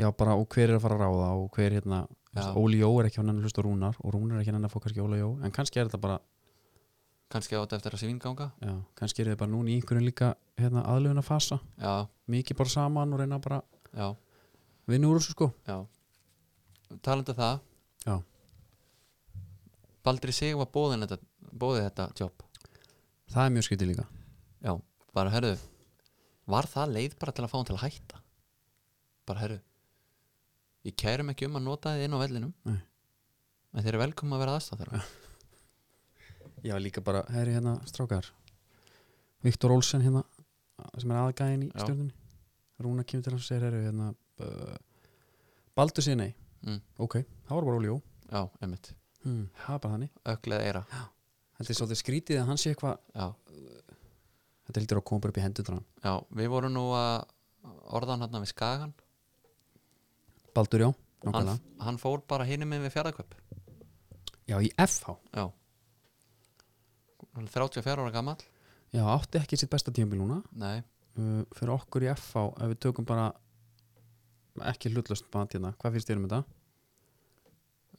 Speaker 1: já, bara, og hver er að fara að ráða og hver hérna,
Speaker 2: Já.
Speaker 1: þessi, Óli Jó er ekki hann að hlusta á Rúnar og Rúnar er ekki hann að fá kannski Óli Jó en kannski er þetta bara,
Speaker 2: kannski átt eftir að sé vinganga
Speaker 1: já, kannski er þetta bara núna í einhverjum líka hérna, aðlöfuna fasa
Speaker 2: já,
Speaker 1: mikið bara saman og reyna bara að
Speaker 2: já
Speaker 1: vinna úr þessu sko
Speaker 2: Já Talandi um það
Speaker 1: Já.
Speaker 2: Baldri sig var bóðin þetta bóðið þetta jobb
Speaker 1: það er mjög skrítið líka
Speaker 2: Já, bara herðu Var það leið bara til að fá hann til að hætta Bara herðu Ég kærum ekki um að nota þið inn á vellinum
Speaker 1: Nei.
Speaker 2: En þeir eru velkomin að vera aðstæður
Speaker 1: Já, líka bara, herri hérna, strákar Viktor Olsen hérna sem er aðgæðin í
Speaker 2: Já.
Speaker 1: stjórnunni Rúna kemur til hans og segir, herri hérna uh, Baldur sér nei
Speaker 2: mm,
Speaker 1: Ok, það var bara óljó
Speaker 2: Já, emmitt
Speaker 1: hmm. Það er bara þannig
Speaker 2: Ögleð eira
Speaker 1: Þetta
Speaker 2: Sko-
Speaker 1: er svolítið skrítið að hann sé eitthvað
Speaker 2: Já,
Speaker 1: Þetta lítur að koma bara upp í hendur hann
Speaker 2: já, við vorum nú að orðan hann við Skagan
Speaker 1: Baldur, já,
Speaker 2: hann,
Speaker 1: nákvæmlega
Speaker 2: hann fór bara hinum minn við fjaraðköp
Speaker 1: Já, í FH
Speaker 2: Já Hann er 34 ára gamall
Speaker 1: Já, átti ekki sitt besta tímabil núna
Speaker 2: Nei,
Speaker 1: uh, Fyrir okkur í FH, ef við tökum bara ekki hlutlust bara hérna Hvað finnst þér um þetta?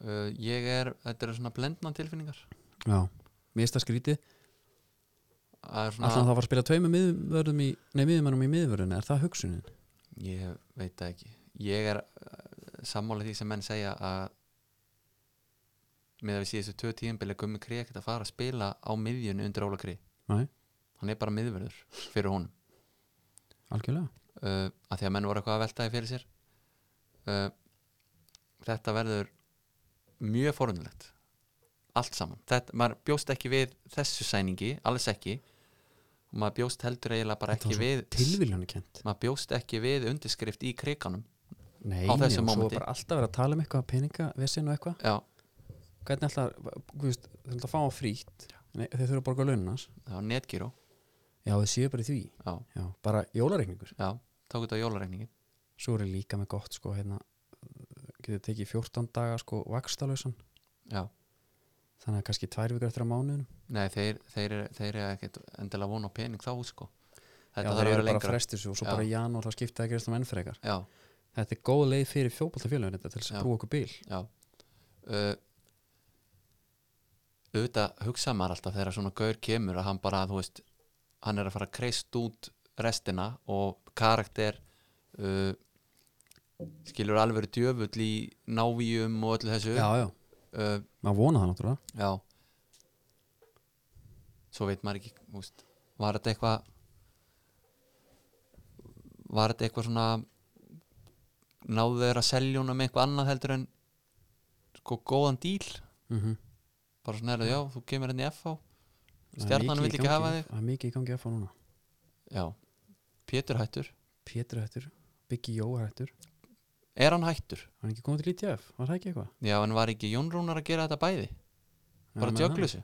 Speaker 2: uh, ég er, þetta eru svona blendna tilfinningar
Speaker 1: Já, mér finnst það skrítið
Speaker 2: Það er svona,
Speaker 1: Alltaf það var að spila tveimu miðvörðum í Nei, miðvörðum í miðvörðunni, er það hugsunin?
Speaker 2: ég veit það ekki ég er uh, sammála því sem menn segja að með að við síðustu tvö tíðinbili gummi krið ekkert að fara að spila á miðjunni undir Óla krið
Speaker 1: Nei.
Speaker 2: hann er bara miðverður fyrir honum
Speaker 1: Algjörlega
Speaker 2: uh, að því að menn voru eitthvað að veltaði fyrir sér uh, þetta verður mjög forunilegt allt saman þetta, maður bjóst ekki við þessu sæningi alls ekki og maður bjóst heldur eiginlega bara
Speaker 1: Þetta var
Speaker 2: ekki
Speaker 1: svo
Speaker 2: við
Speaker 1: Tilvíljónu kent
Speaker 2: maður bjóst ekki við undirskrift í kriganum
Speaker 1: Nei,
Speaker 2: Á
Speaker 1: og
Speaker 2: þessu
Speaker 1: svo var
Speaker 2: mómenti.
Speaker 1: bara alltaf verið að tala um eitthvað peninga, vesinn og eitthvað
Speaker 2: já,
Speaker 1: Hvernig alltaf, veist, þau ætla að fá á frýtt Nei, þeir þurfa að borga launans
Speaker 2: það var netgíró
Speaker 1: Já, þau séu bara í því
Speaker 2: já,
Speaker 1: Já, bara jólareikningur
Speaker 2: já, tók þetta á jólareikningin
Speaker 1: Svo er ég líka með gott, sko, hérna Getið tekið 14 daga, sko, vakstalausan
Speaker 2: já,
Speaker 1: Þannig að kannski tvær vikur eftir að mánuðunum
Speaker 2: nei, þeir, þeir, eru- þeir eru ekkert endilega vona á pening þá sko
Speaker 1: Já,
Speaker 2: þetta þarf
Speaker 1: þeir eru
Speaker 2: að
Speaker 1: bara
Speaker 2: vera
Speaker 1: að
Speaker 2: lengra
Speaker 1: frestu svo og svo
Speaker 2: Já.
Speaker 1: bara í janúar þá skipta ekki restum um enn frekar
Speaker 2: já,
Speaker 1: Þetta er góð leið fyrir fjótboltafélagin þetta til þess
Speaker 2: Já.
Speaker 1: að brúa okkur bíl
Speaker 2: já uh, auðvitað hugsa maður alltaf þegar svona gaur kemur að hann bara, þú veist hann er að fara að kreist út restina og karakter uh, skilur alveg djöfull í návíum og öllu þessu
Speaker 1: Já, já,
Speaker 2: uh,
Speaker 1: maður vona það náttúrulega
Speaker 2: Já Svo veit maður ekki úst, Var þetta eitthvað Var þetta eitthvað svona Náðu þeir að selja honum eitthvað annað heldur en sko góðan díl
Speaker 1: mm
Speaker 2: Mhm.
Speaker 1: -hmm.
Speaker 2: bara svona erðu, já, þú kemur henni í FH Stjarnan vill ekki hafa þig
Speaker 1: Það er mikið í gangi að fá núna
Speaker 2: Já, Pétur hættur
Speaker 1: Pétur er hættur, Biggi Jó er hættur
Speaker 2: Er hann hættur?
Speaker 1: Hann er ekki komið til ITF, var það ekki eitthvað?
Speaker 2: Já, en var ekki Jón Rúnar að gera þetta bæði? Bara
Speaker 1: Já,
Speaker 2: tjöglu
Speaker 1: menn
Speaker 2: þessu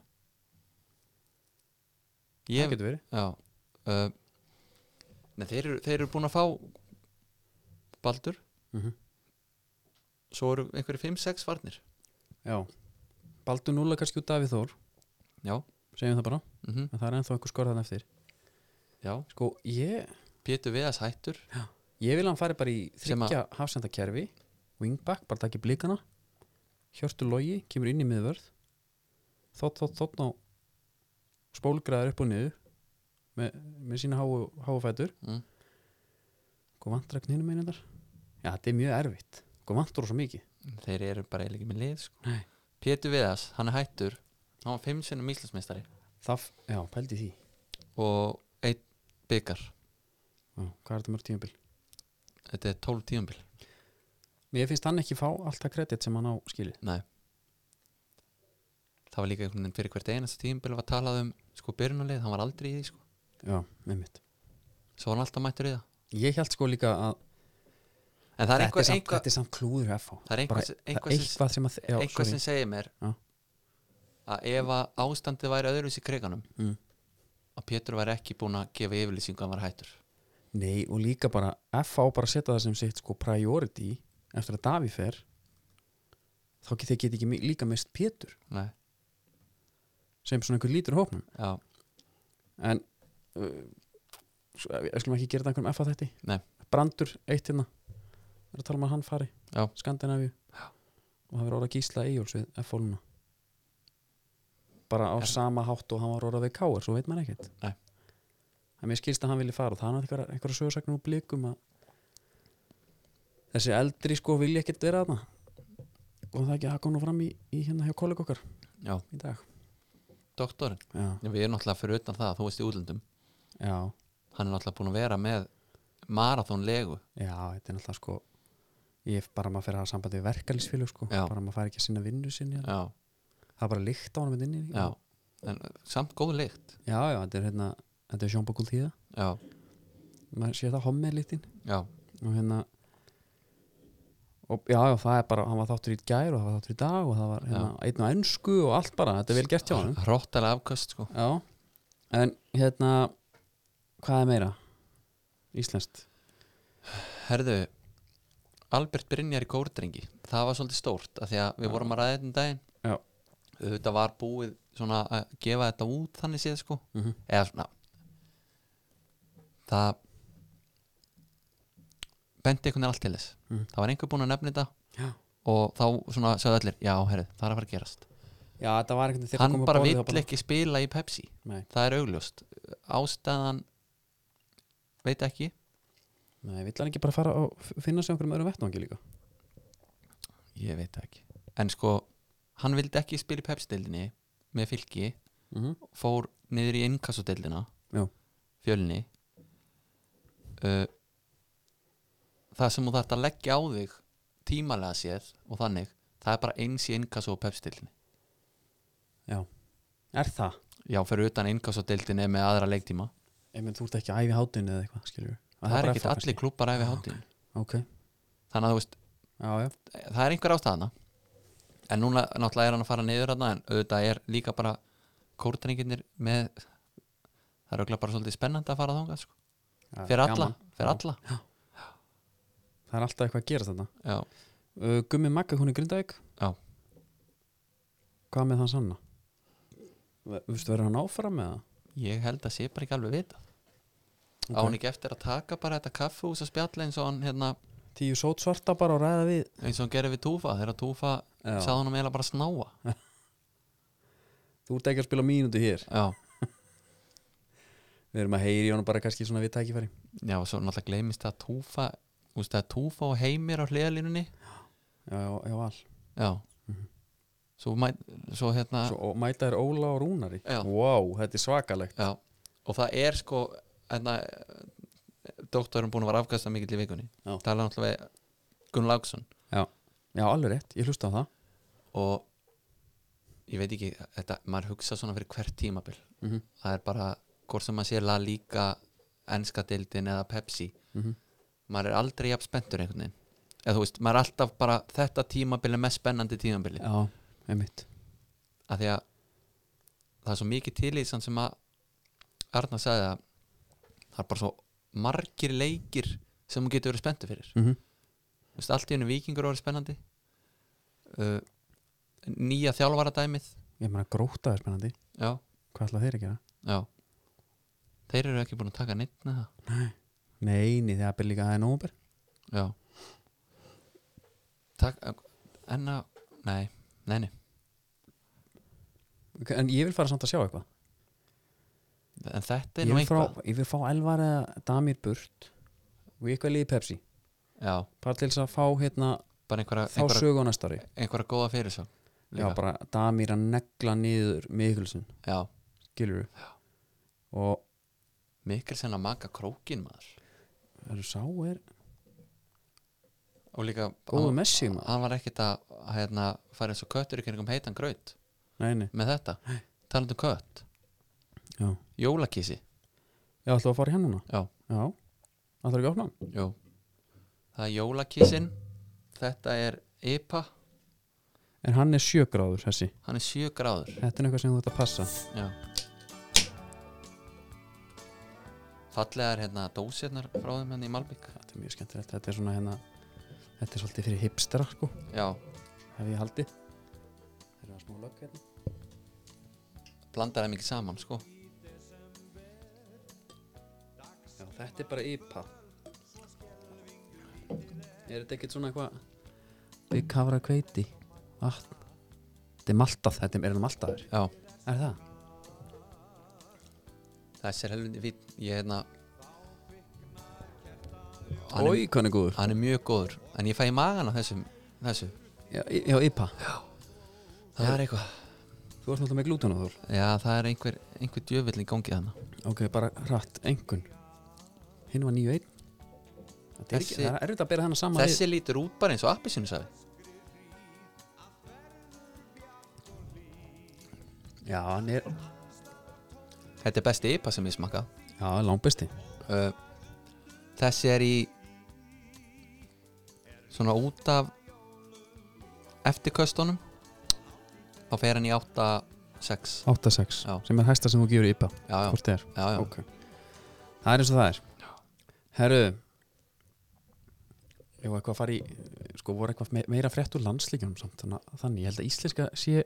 Speaker 1: það.
Speaker 2: Ég
Speaker 1: Það getur verið
Speaker 2: Já uh, Nei, þeir, eru- þeir eru búin að fá Baldur
Speaker 1: Mhm.
Speaker 2: Svo eru einhverju 5-6 varnir
Speaker 1: Já, Baldur Núla kannski út Davíð Þór
Speaker 2: Já,
Speaker 1: Segjum það bara,
Speaker 2: mm
Speaker 1: en það er ennþá einhver skorðan eftir
Speaker 2: já
Speaker 1: Sko, ég,
Speaker 2: Pétur Viðas hættur
Speaker 1: ég vil að hann fari bara í
Speaker 2: Sem að-
Speaker 1: þryggja hafsendakerfi Wingback, bara takk í blikana Hjörtu logi, kemur inn í miðvörð Þótt, þótt, þótt ná Spólgraðar upp og niður Með, með sína háu, háu fætur
Speaker 2: mm.
Speaker 1: Hvað vantur að knýna meina þar? Já, þetta er mjög erfitt. Hvað vantur svo mikið?
Speaker 2: Þeir eru bara eiginlega ekki með lið sko.
Speaker 1: Nei.
Speaker 2: Pétur Viðas, hann er hættur Hann var 5 sinnum íslensmestari
Speaker 1: það, já, pældi því
Speaker 2: og einn byggar
Speaker 1: já, hvað er þetta mörg tímabil
Speaker 2: þetta er 12 tíumbil
Speaker 1: mér finnst hann ekki fá allt það kredit sem hann á skilið
Speaker 2: Nei Það var líka einhvern veginn fyrir hvert einasta tíumbil var talað um sko byrjunarlið, hann var aldrei í því sko
Speaker 1: já, einmitt
Speaker 2: svo var hann alltaf mættur í það
Speaker 1: ég held sko líka að
Speaker 2: en það er
Speaker 1: þetta,
Speaker 2: einhver,
Speaker 1: er samt,
Speaker 2: einhver,
Speaker 1: þetta er samt klúður FH
Speaker 2: það er
Speaker 1: bara-
Speaker 2: einhver,
Speaker 1: það er
Speaker 2: einhver, sem-
Speaker 1: eitthvað sem að já,
Speaker 2: eitthvað
Speaker 1: sorry.
Speaker 2: sem segir mér
Speaker 1: Já.
Speaker 2: að ef að ástandið væri öðruvis í kriganum
Speaker 1: Mm.
Speaker 2: að Pétur væri ekki búin að gefa yfirlýsingu að hann var hættur
Speaker 1: Nei, og líka bara FH bara setja það sem sitt sko priority eftir að Daví fer þá get þeir get ekki mi- líka mest Pétur
Speaker 2: Nei.
Speaker 1: sem svona einhver lítur í hópnum
Speaker 2: Já.
Speaker 1: en uh, s- við við skulum ekki gera þetta einhverjum FH þetta
Speaker 2: Nei.
Speaker 1: Brandur, eitt hérna við erum að tala um að hann fari
Speaker 2: Já.
Speaker 1: Skandinavíu
Speaker 2: Já.
Speaker 1: og það verður orða gísla Eyjóls við FH núna bara á
Speaker 2: En-
Speaker 1: sama hátt og hann var orða við Káar svo veit maður ekkert
Speaker 2: Nei.
Speaker 1: en mér skilst að hann vilji fara og það er einhverja, einhverja sögursaknum og blikum að þessi eldri sko vilja ekkert vera þarna og það ekki að koma nú fram í, í hérna hjá kollega okkar
Speaker 2: Já.
Speaker 1: í dag
Speaker 2: Doktorinn,
Speaker 1: Já,
Speaker 2: við erum náttúrulega fyrir utan það þú veist í útlöndum,
Speaker 1: já,
Speaker 2: hann er náttúrulega búin að vera með marathónlegu
Speaker 1: já þetta er náttúrulega sko ég hef bara maður fyrir að hafa sambandi við verkalýsfélög sko
Speaker 2: Já.
Speaker 1: bara maður fær ekki að sinna vinnu sinni hérna.
Speaker 2: Já.
Speaker 1: það er bara lykt á hann með inni
Speaker 2: Já. En, uh, samt góð lykt
Speaker 1: já, já, þetta er hérna þetta er sjónbakul tíða
Speaker 2: Já.
Speaker 1: maður sé það hommið litin
Speaker 2: Já.
Speaker 1: og hérna og já, já, það er bara, hann var þáttur í gær og það var þáttur í dag og það var hérna, einn og ennsku og allt bara, þetta er vel gert hjá hann
Speaker 2: Hróttalega afkast sko
Speaker 1: já, en hérna hvað er meira? Íslenskt
Speaker 2: Herðu, Albert Brynjar í kórdrengi það var svolítið stórt af því að við
Speaker 1: Já.
Speaker 2: vorum að ræða þetta um daginn
Speaker 1: Já.
Speaker 2: þetta var búið svona að gefa þetta út þannig séð sko
Speaker 1: mm -hmm.
Speaker 2: eða svona það benti einhvern veginn allt til þess
Speaker 1: Mhm.
Speaker 2: það var einhver búinn að nefna þetta
Speaker 1: Já.
Speaker 2: og þá svona sagði allir já, herri, það er að fara að gerast
Speaker 1: já, þetta var einhvern veginn þegar
Speaker 2: hann
Speaker 1: komu á
Speaker 2: bara
Speaker 1: borðið,
Speaker 2: vill
Speaker 1: það bara-
Speaker 2: ekki spila í Pepsi
Speaker 1: Nei.
Speaker 2: það er augljóst ástæðan veit ekki
Speaker 1: nei, vill hann ekki bara fara og f- finna sig á einhverjum öðrum vettvangi líka
Speaker 2: ég veit það ekki en sko, hann vildi ekki spila í pepsdeildinni með fylki,
Speaker 1: mm
Speaker 2: Mhm.
Speaker 1: -hmm.
Speaker 2: fór niður í innkassodeildina
Speaker 1: Já.
Speaker 2: fjölni uh, það sem þú þarft að leggja á þig tímalega séð og þannig það er bara eins í innkasso og pepsdeildinni
Speaker 1: er það?
Speaker 2: já, fyrir utan innkassodeildinni með aðra leiktíma
Speaker 1: Ég menn, þú ert ekki að æfi hátinn eða eitthvað, skilur
Speaker 2: það er ekkit allir klúpar æfi hátíðin
Speaker 1: ok,
Speaker 2: þannig að þú veist,
Speaker 1: já, já,
Speaker 2: það er einhver ástæðana en núna náttúrulega er hann að fara niður hann en auðvitað er líka bara kórtrenginir með það er auðvitað bara svolítið spennandi að fara þangað sko.
Speaker 1: já
Speaker 2: fyrir alla,
Speaker 1: gaman.
Speaker 2: fyrir alla.
Speaker 1: það er alltaf eitthvað að gera þetta
Speaker 2: Já.
Speaker 1: uh, Gummi Magga, hún er grindaðik
Speaker 2: Já.
Speaker 1: hvað með þann sanna? Ve- Þú veist, verður hann áfram með það?
Speaker 2: ég held að sé bara ekki alveg vita okay. á hann ekki eftir að taka bara þetta kaffehús að spjalla eins og hann hérna,
Speaker 1: tíu sót svarta bara og ræða við
Speaker 2: eins og hann gerir við Túfa þegar Túfa
Speaker 1: já.
Speaker 2: sagði hann eiginlega bara snáa
Speaker 1: þú ert ekki að spila mínútu hér
Speaker 2: já,
Speaker 1: við erum að heyri í honum bara kannski svona við tækifæri
Speaker 2: já og svo náttúrulega gleymist það að Túfa þú veist það að Túfa og Heimir á hliðalínunni
Speaker 1: já, já, já, all
Speaker 2: já
Speaker 1: Mhm.
Speaker 2: svo, mæ, svo hérna
Speaker 1: Svo, og mæta er Óla og Rúnari
Speaker 2: Já.
Speaker 1: wow, þetta er svakalegt
Speaker 2: Já, og það er sko enna, doktorum búin að vera afkasta mikill í vikunni
Speaker 1: Já.
Speaker 2: það er náttúrulega Gunn Láksson
Speaker 1: já, alveg rétt, ég hlusta á það
Speaker 2: og ég veit ekki, þetta, maður hugsa svona fyrir hvert tímabil
Speaker 1: Mhm.
Speaker 2: það er bara, hvort sem maður sé La Liga enska deildin eða Pepsi
Speaker 1: Mhm.
Speaker 2: maður er aldrei jafn spenntur einhvern veginn eða þú veist, maður er alltaf bara þetta tímabil er mest spennandi tímabili
Speaker 1: já, einmitt
Speaker 2: að því að það er svo mikið til í samt sem að Arna sagði að það er bara svo margir leikir sem hún getur verið spenntu fyrir
Speaker 1: mm
Speaker 2: Þú veist, allt í hennu vikingur voru spennandi uh, nýja þjálfaradæmið
Speaker 1: ég meina gróta er spennandi
Speaker 2: já,
Speaker 1: hvað ætla þeir að gera?
Speaker 2: já þeir eru ekki búin að taka neitt með það
Speaker 1: neini, það er líka aðeins nómber
Speaker 2: já tak, enna, nei, nei, nei
Speaker 1: en ég vil fara samt að sjá eitthvað
Speaker 2: en þetta er
Speaker 1: ég
Speaker 2: nú
Speaker 1: vil,
Speaker 2: eitthvað
Speaker 1: fá, ég vil fá Elvar eða Damir burt og eitthvað liði Pepsi
Speaker 2: já,
Speaker 1: bara til þess að fá hérna
Speaker 2: bara einhverja,
Speaker 1: þá
Speaker 2: einhverja,
Speaker 1: sögu á næsta ári
Speaker 2: einhverja góða fyrir svo
Speaker 1: já bara Damir að negla niður Mikkelsen
Speaker 2: já,
Speaker 1: skilur og
Speaker 2: Mikkelsen að maka krókin maður
Speaker 1: það sá er
Speaker 2: og líka
Speaker 1: góðu
Speaker 2: hann,
Speaker 1: messi maður
Speaker 2: hann var ekkit að að, hérna, fara eins og köttur í kringum heitan graut
Speaker 1: nei, nei,
Speaker 2: með þetta, talandi um kött
Speaker 1: já,
Speaker 2: jólakísi,
Speaker 1: já ætlum við að fara í hann núna
Speaker 2: já,
Speaker 1: já, það þarf ekki að opna hann?
Speaker 2: jú það er jólakísin þetta er IPA,
Speaker 1: en hann er sjögráður þessi,
Speaker 2: hann er 7 gráður
Speaker 1: þetta er eitthvað sem þú ert að passa
Speaker 2: já fallegar hérna dósirnar frá þeim hérna í Malbík
Speaker 1: þetta er mjög skemmtilegt, þetta er svona hérna þetta er svolítið fyrir hipstera sko
Speaker 2: já,
Speaker 1: hef ég haldið það eru að smá lögg hérna
Speaker 2: blandar það mikið saman sko
Speaker 1: já, þetta er bara IPA er þetta ekkert svona eitthvað við kafra kveiti vatn þetta er maltað, þetta er enn maltaður
Speaker 2: já,
Speaker 1: er það?
Speaker 2: þessi er helvindi fín ég hérna hann
Speaker 1: Ói,
Speaker 2: er,
Speaker 1: hvað hann er góður
Speaker 2: hann er mjög góður en ég fæ í magan á þessum þessu.
Speaker 1: já, í- já, IPA,
Speaker 2: það er eitthvað
Speaker 1: þú ert náttúrulega með glútuna þór
Speaker 2: já, það er einhver, einhver djöfillin gangið hana
Speaker 1: ok, bara hratt, engun hinn var 9-1 þetta er ekki,
Speaker 2: Þessi-
Speaker 1: það er erfitt að bera hana saman
Speaker 2: þessi lítur út bara eins og appisinu sagði
Speaker 1: við já, hann er,
Speaker 2: þetta er besti IPA sem ég smakka
Speaker 1: já, langbesti
Speaker 2: uh, þessi er í svona út af eftirköstunum þá fer hann í 8-6
Speaker 1: 8-6,
Speaker 2: Já.
Speaker 1: sem er hæsta sem þú gefur í IPA
Speaker 2: já, já,
Speaker 1: hvort þið er
Speaker 2: já, já.
Speaker 1: ok það er eins og það er herru ég var eitthvað að fara í sko voru eitthvað me- meira frétt úr landslíkjunum samt þannig, að- þannig ég held að íslenska sé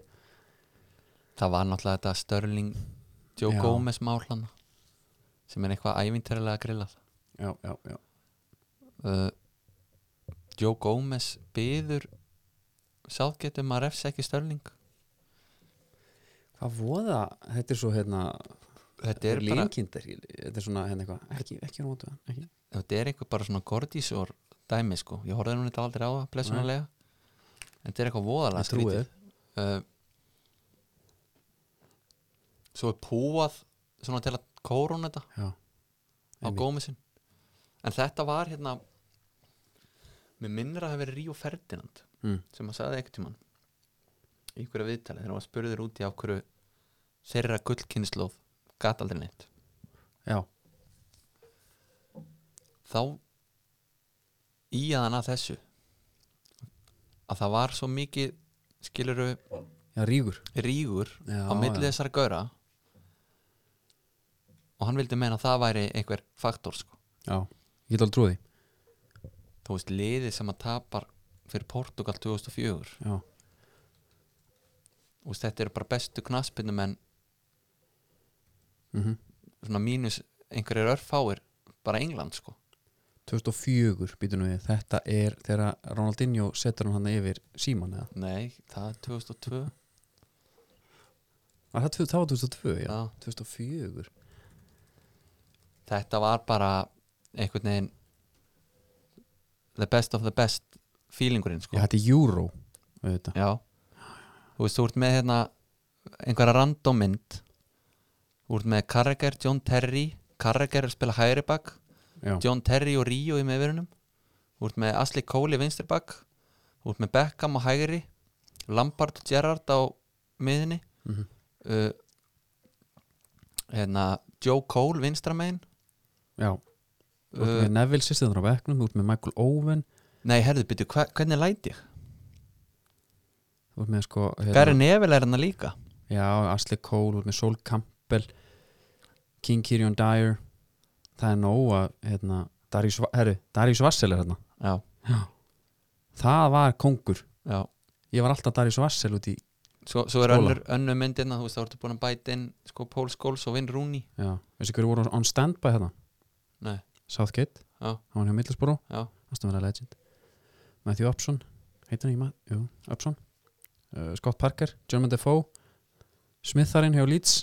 Speaker 2: það var náttúrulega þetta Störling Joe
Speaker 1: Já.
Speaker 2: Gomez málana sem er eitthvað ævintarlega grillað
Speaker 1: já, já, já,
Speaker 2: uh, Joe Gomez byður sáttgetum að refsa ekki Störling
Speaker 1: hvað voða þetta er svo hérna
Speaker 2: þetta er bara,
Speaker 1: línkindir þetta er svona hérna eitthvað ekki, ekki rótu ekki
Speaker 2: þetta er eitthvað bara svona gordísor dæmi sko, ég horfði nú þetta aldrei á það blessunarlega, en þetta er eitthvað
Speaker 1: Ég
Speaker 2: voðalega
Speaker 1: trúi
Speaker 2: skrítið. uh, svo er púað svona til að kórun þetta
Speaker 1: já
Speaker 2: á
Speaker 1: Einmitt.
Speaker 2: gómisinn en þetta var hérna mér minnir að það hafi verið Ríó Ferdinand
Speaker 1: Mm.
Speaker 2: sem að sagði ekkert tímann í einhverja viðtali þegar hann var spurður út í af hverju þeirra gullkynnslóð gat aldrei neitt
Speaker 1: já
Speaker 2: þá í að hann að þessu að það var svo mikið skiluru
Speaker 1: já rígur
Speaker 2: rígur
Speaker 1: já,
Speaker 2: á milli
Speaker 1: já.
Speaker 2: þessara gaura og hann vildi meina að það væri einhver faktor sko
Speaker 1: já ég get alveg trúið því
Speaker 2: þú veist liðið sem að tapar fyrir Portugal 2004
Speaker 1: já
Speaker 2: Þú veist, þetta eru bara bestu knaspinum en
Speaker 1: mm
Speaker 2: svona mínus einhverjir örfáir bara England sko
Speaker 1: 2004 býtum við þetta er þegar Ronaldinho setur hann hann yfir síman eða
Speaker 2: nei, það er 2002
Speaker 1: var það, tvö- það var 2002 já
Speaker 2: Já.
Speaker 1: 2004
Speaker 2: þetta var bara einhvern veginn the best of the best feelingurinn sko
Speaker 1: Já, þetta er Euro auðvitað.
Speaker 2: Já. þú veist, þú ert með hérna einhverja random mynd þú ert með Carragher, John Terry Carragher er að spila hægri bak
Speaker 1: Já.
Speaker 2: John Terry og Rio í meðverunum Þú ert með Asli Cole í vinstirbakk Þú ert með Beckham á hægri Lampard og Gerrard á miðinni
Speaker 1: Mhm.
Speaker 2: uh, hérna, Joe Cole vinstramein
Speaker 1: Já. Þú ert
Speaker 2: uh,
Speaker 1: með Neville sýstirnar á bekknum, þú ert með Michael Owen
Speaker 2: Nei, herðu, byrju, hva, hvernig læti ég?
Speaker 1: þú ert með sko
Speaker 2: Gary Neville er hérna líka
Speaker 1: Já, Ashley Cole, þú ert með Sol Campbell King Kirion Dyer það er nóg að hérna, Darius, Va- herru, Darius Vassel er hérna
Speaker 2: Já,
Speaker 1: það var kongur,
Speaker 2: já
Speaker 1: ég var alltaf Darius Vassel út í
Speaker 2: Svo, svo er
Speaker 1: Skóla.
Speaker 2: önnur, önnur myndina, þú veist, þá ertu búin að bæta inn sko Paul Scholes og Vin Rooney
Speaker 1: já, veistu hverju voru on standby hérna
Speaker 2: Nei,
Speaker 1: Southgate,
Speaker 2: Já.
Speaker 1: hann var hjá Middlesbrough
Speaker 2: já,
Speaker 1: Aston Villa Legend Matthew Upson, heitir hann ekki maður Jú, Upson uh, Scott Parker, Jermaine Defoe Smitharinn hjá Leeds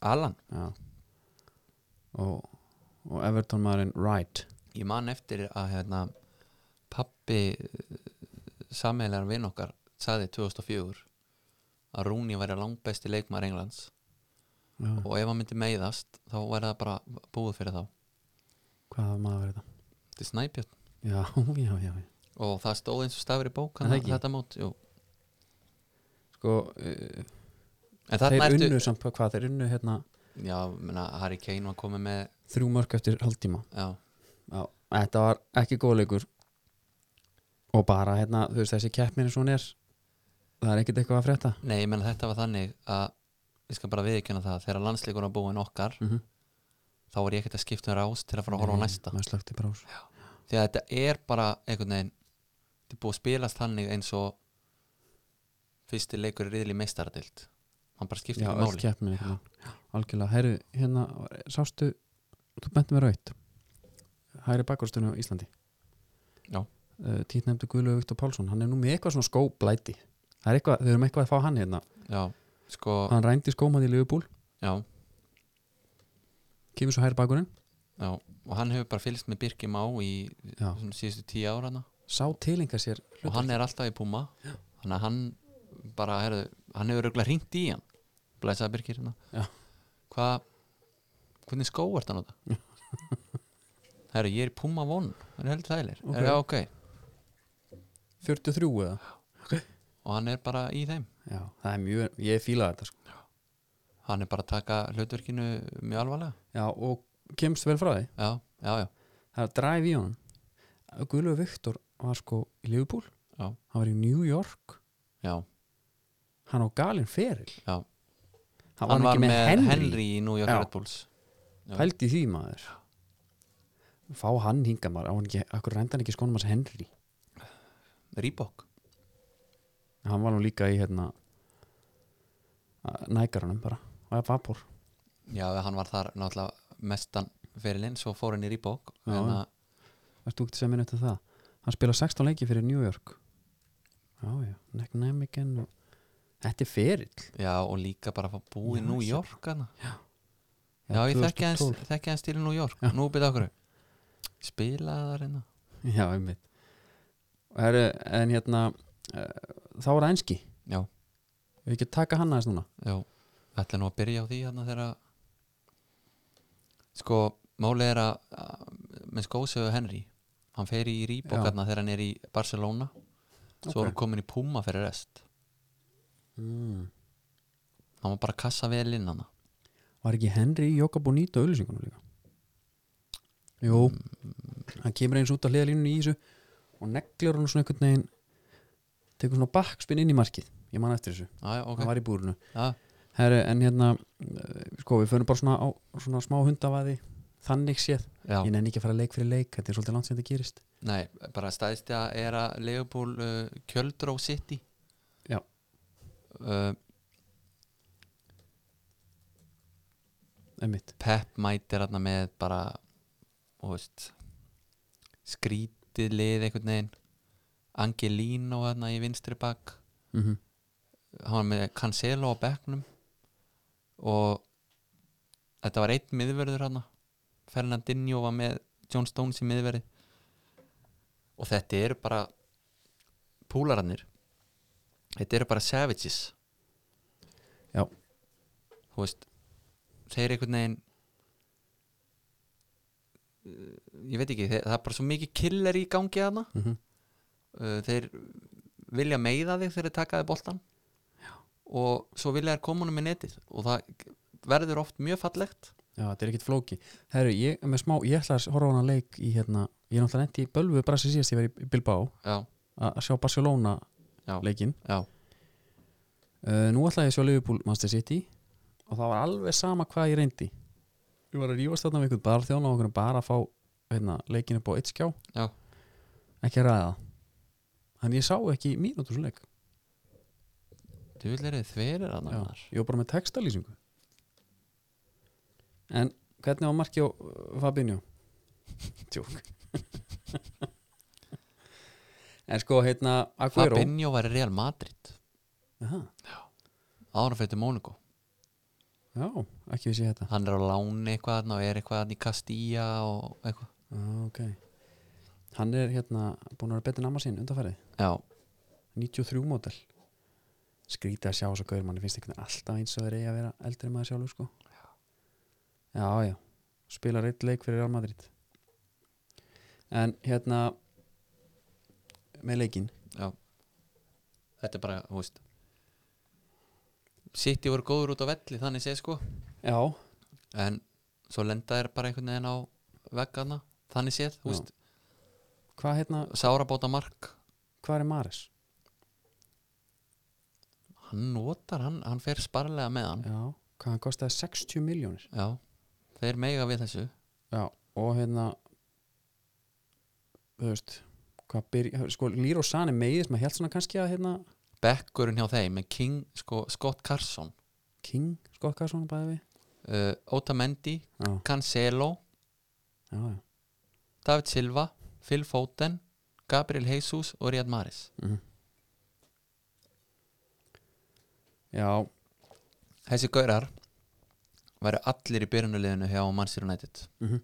Speaker 2: Alan
Speaker 1: Já. og, og Everton maðurinn Wright
Speaker 2: Ég man eftir að hérna, eh, pappi sammeðlegar vinn okkar sagði 2004 að Rúni væri langbesti leikmaður Englands
Speaker 1: já,
Speaker 2: og ef hann myndi meiðast þá væri það bara búið fyrir þá
Speaker 1: hvað hafa maður verið það
Speaker 2: þetta er snæbjörn
Speaker 1: já, já, já, já.
Speaker 2: og það stóð eins og stafir í
Speaker 1: Er
Speaker 2: bók
Speaker 1: það
Speaker 2: hann,
Speaker 1: ekki?
Speaker 2: þetta mót, jú
Speaker 1: sko, uh,
Speaker 2: en
Speaker 1: þeir
Speaker 2: þarna ertu,
Speaker 1: unnu samt hvað, þeir unnu hérna
Speaker 2: já, menna, Harry Kane var komið með
Speaker 1: þrjú mörg eftir hálftíma
Speaker 2: já,
Speaker 1: já, þetta var ekki góð leikur og bara hérna, þú veist þessi keppnin er svona er það er ekkert eitthvað að frétta
Speaker 2: nei, ég menna þetta var þannig að ég skal bara viðkjöna það, þegar landsleikur var búin okkar
Speaker 1: mm -hmm.
Speaker 2: þá var ég ekkert að skipta um rás til að fara að Mhm. horfa á næsta
Speaker 1: Eh, maður slökti bara úr
Speaker 2: því að þetta er bara einhvern veginn þetta er búið að spilast þannig eins og fyrsti leikur í riðli meistaradild hann bara skiptir
Speaker 1: já,
Speaker 2: ekki
Speaker 1: öll
Speaker 2: máli
Speaker 1: keppnin já. algjörlega, herru, hérna sástu, þú bentum með raut hæri bakkurstunni á Íslandi
Speaker 2: Já.
Speaker 1: uh, títnefndu Guðlaug Viktor Pálsson hann er nú með eitthvað svona skóblæti það er eitthvað, þau erum eitthvað að fá hann hérna
Speaker 2: já, sko,
Speaker 1: hann rændi skómað í Liverpool,
Speaker 2: já,
Speaker 1: kemur svo hæri bakkurinn
Speaker 2: já og hann hefur bara fylgst með Birki Má í
Speaker 1: Já.
Speaker 2: svona síðustu tíu árana
Speaker 1: sá tilinga sér
Speaker 2: og hann er alltaf í Puma þannig að hann bara, herðu, hann hefur röglega hringt í hann blæsaði Birkir
Speaker 1: Já.
Speaker 2: hérna hvað hvernig skó ert hann á það? Herru, ég er í Puma von hann er heldur þægilegir,
Speaker 1: Ok.
Speaker 2: okay. er ok
Speaker 1: 43 eða
Speaker 2: og hann er bara í þeim
Speaker 1: já, það er mjög, ég fíla þetta sko.
Speaker 2: hann er bara að taka hlutverkinu mjög alvarlega
Speaker 1: já, og kemst vel frá því
Speaker 2: já, já, já,
Speaker 1: það er dræf í honum Guðlaug Viktor var sko í Liverpool
Speaker 2: Já.
Speaker 1: hann var í New York
Speaker 2: já.
Speaker 1: hann á galinn feril
Speaker 2: Já.
Speaker 1: hann, var ekki með, Henry, Henry.
Speaker 2: í New York
Speaker 1: Já.
Speaker 2: Red Bulls Já.
Speaker 1: pældi því maður fá hann hinga maður á hann ekki, akkur reynda hann ekki skonum hans Henry
Speaker 2: Reebok
Speaker 1: hann var nú líka í hérna nægarunum bara og að vapor
Speaker 2: já, hann var þar náttúrulega mestan fyrirlinn, svo fór hann í Reebok
Speaker 1: Já,
Speaker 2: en
Speaker 1: já.
Speaker 2: að,
Speaker 1: Varst þú ekki sem minna eftir um það? Hann spila 16 leiki fyrir New York Já, já, Neck Namigan og... Þetta er ferill
Speaker 2: já, og líka bara að fá búið
Speaker 1: Já,
Speaker 2: í New
Speaker 1: sem-
Speaker 2: York hana. já, ég þekki hans,
Speaker 1: 2012.
Speaker 2: þekki hans til New York
Speaker 1: Já.
Speaker 2: nú byrja okkur spilaði hérna? það reyna
Speaker 1: Já, einmitt Heru, En hérna uh, þá er það enski
Speaker 2: já,
Speaker 1: Við ekki að taka hann aðeins núna
Speaker 2: já, ætla nú að byrja á því hérna þegar að sko, málið er að að- með skósögu Henry hann fer í Reebok
Speaker 1: Já.
Speaker 2: hérna þegar hann er í Barcelona svo
Speaker 1: Ok.
Speaker 2: er hann komin í Puma fyrir rest
Speaker 1: mm.
Speaker 2: hann var bara að kassa vel inn hana
Speaker 1: Var ekki Henry í Jokka Bonito auðlýsingunum líka? Jú Hann kemur eins út að hliða línunni í þessu og neglir hann svona einhvern veginn tekur svona backspinn inn í markið Ég man eftir þessu,
Speaker 2: ah, já,
Speaker 1: hann
Speaker 2: okay.
Speaker 1: var í búrinu
Speaker 2: já,
Speaker 1: Herru, en hérna eh, sko, við förum bara svona á svona smá hundavaði þannig séð,
Speaker 2: já.
Speaker 1: ég nenni ekki að fara leik fyrir leik þetta er svolítið langt sem þetta gerist
Speaker 2: Nei, bara stæðstja er að Leopold uh, Kjöldró City
Speaker 1: Já.
Speaker 2: uh,
Speaker 1: einmitt,
Speaker 2: Pep mætir hann með bara þú veist, skrítið lið einhvern veginn Angelino hann í vinstri bak
Speaker 1: mm -hmm.
Speaker 2: hann var með Cancelo á bekknum og þetta var einn miðverður hann Fernandinho var með John Stones í miðverði og þetta eru bara púlarannir þetta eru bara savages
Speaker 1: Já.
Speaker 2: þú veist þeir einhvern veginn ég veit ekki, þeir, það er bara svo mikið killer í gangi hana
Speaker 1: Mm
Speaker 2: uh, þeir vilja meiða þig þegar þeir takaði boltan og svo vilja þeir koma honum í netið og það verður oft mjög fallegt
Speaker 1: já, þetta er ekkit flóki herru, ég er með smá, ég ætla að horfa á hana leik í hérna, ég er náttúrulega nefnt í Bölvu bara sem síðast ég verið í Bilbao
Speaker 2: já,
Speaker 1: að að sjá Barcelona
Speaker 2: Já.
Speaker 1: leikin
Speaker 2: já,
Speaker 1: uh, nú ætla ég að sjá Liverpool Master City og það var alveg sama hvað ég reyndi ég var að rífast þarna við einhvern bara þjóna og bara að fá hérna, leikin upp á eitt skjá
Speaker 2: Já.
Speaker 1: ekki að ræða þannig ég sá ekki mínútur svo leik
Speaker 2: þú vil eru þverir að
Speaker 1: Já,
Speaker 2: nánar
Speaker 1: ég var bara með textalýsingu En hvernig var markið á uh, Fabinho? Tjók En sko heitna Aguero
Speaker 2: Fabinho var í Real Madrid
Speaker 1: Aha,
Speaker 2: ára fyrir Mónuko,
Speaker 1: Já, ekki vissi ég þetta
Speaker 2: hann er á láni eitthvað þarna og er eitthvað þarna í Castilla og eitthvað,
Speaker 1: ah, okay. Hann er hérna búin að vera betur namma sín undanfærið
Speaker 2: já,
Speaker 1: 93 mótel skrítið að sjá svo gaur manni finnst einhvern veginn alltaf eins og þeir eigi að vera eldri en maður sjálfur sko já, já, spilar eitt leik fyrir Real Madrid en hérna með leikinn
Speaker 2: þetta er bara, þú veist City voru góður út á velli þannig sé sko
Speaker 1: já,
Speaker 2: en svo lenda þér bara einhvern veginn á veggana, þannig séð, þú
Speaker 1: Já.
Speaker 2: veist
Speaker 1: hvað hérna,
Speaker 2: Sárabóta mark,
Speaker 1: hvað er Maris?
Speaker 2: hann notar hann, hann fer sparlega með hann
Speaker 1: já, hvað hann kostaði 60 miljónir
Speaker 2: já, þeir mega við þessu
Speaker 1: já, og hérna þú veist hvað byrja, sko Lýr og Sani meiðis maður held svona kannski að hérna
Speaker 2: bekkurinn hjá þeim með King, sko, Scott Carson
Speaker 1: King skokkaði svona bæði við
Speaker 2: uh, Otamendi,
Speaker 1: já,
Speaker 2: Cancelo
Speaker 1: já, já
Speaker 2: David Silva, Phil Foden Gabriel Jesus og Riyad Maris
Speaker 1: Já,
Speaker 2: þessi gaurar væru allir í byrjunuleginu hjá Manchester United
Speaker 1: Mhm.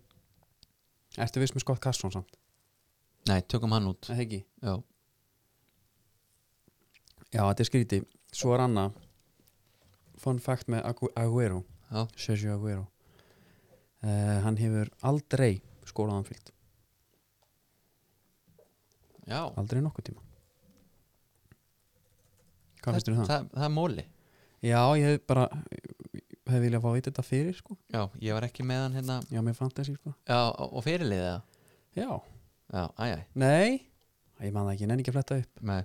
Speaker 1: ertu viss með Scott Carson samt?
Speaker 2: nei, tökum hann út
Speaker 1: Það ekki
Speaker 2: já,
Speaker 1: Já, þetta er skríti Svo er annað Fun fact með Agu- Agüero
Speaker 2: já,
Speaker 1: Sergio Agüero uh, Hann hefur aldrei skólaðan fyllt
Speaker 2: já.
Speaker 1: Aldrei nokkuð tíma Hvað finnst þér um það?
Speaker 2: það, það er móli
Speaker 1: Já, ég hef bara ég hef viljað fá að vita þetta fyrir sko
Speaker 2: já, ég var ekki með hann hérna
Speaker 1: Já, mér fant þessi sko
Speaker 2: já, og og fyrirliðið það
Speaker 1: Já,
Speaker 2: já, æjæ,
Speaker 1: nei Ég man það ekki, ég nenni ekki að fletta upp
Speaker 2: með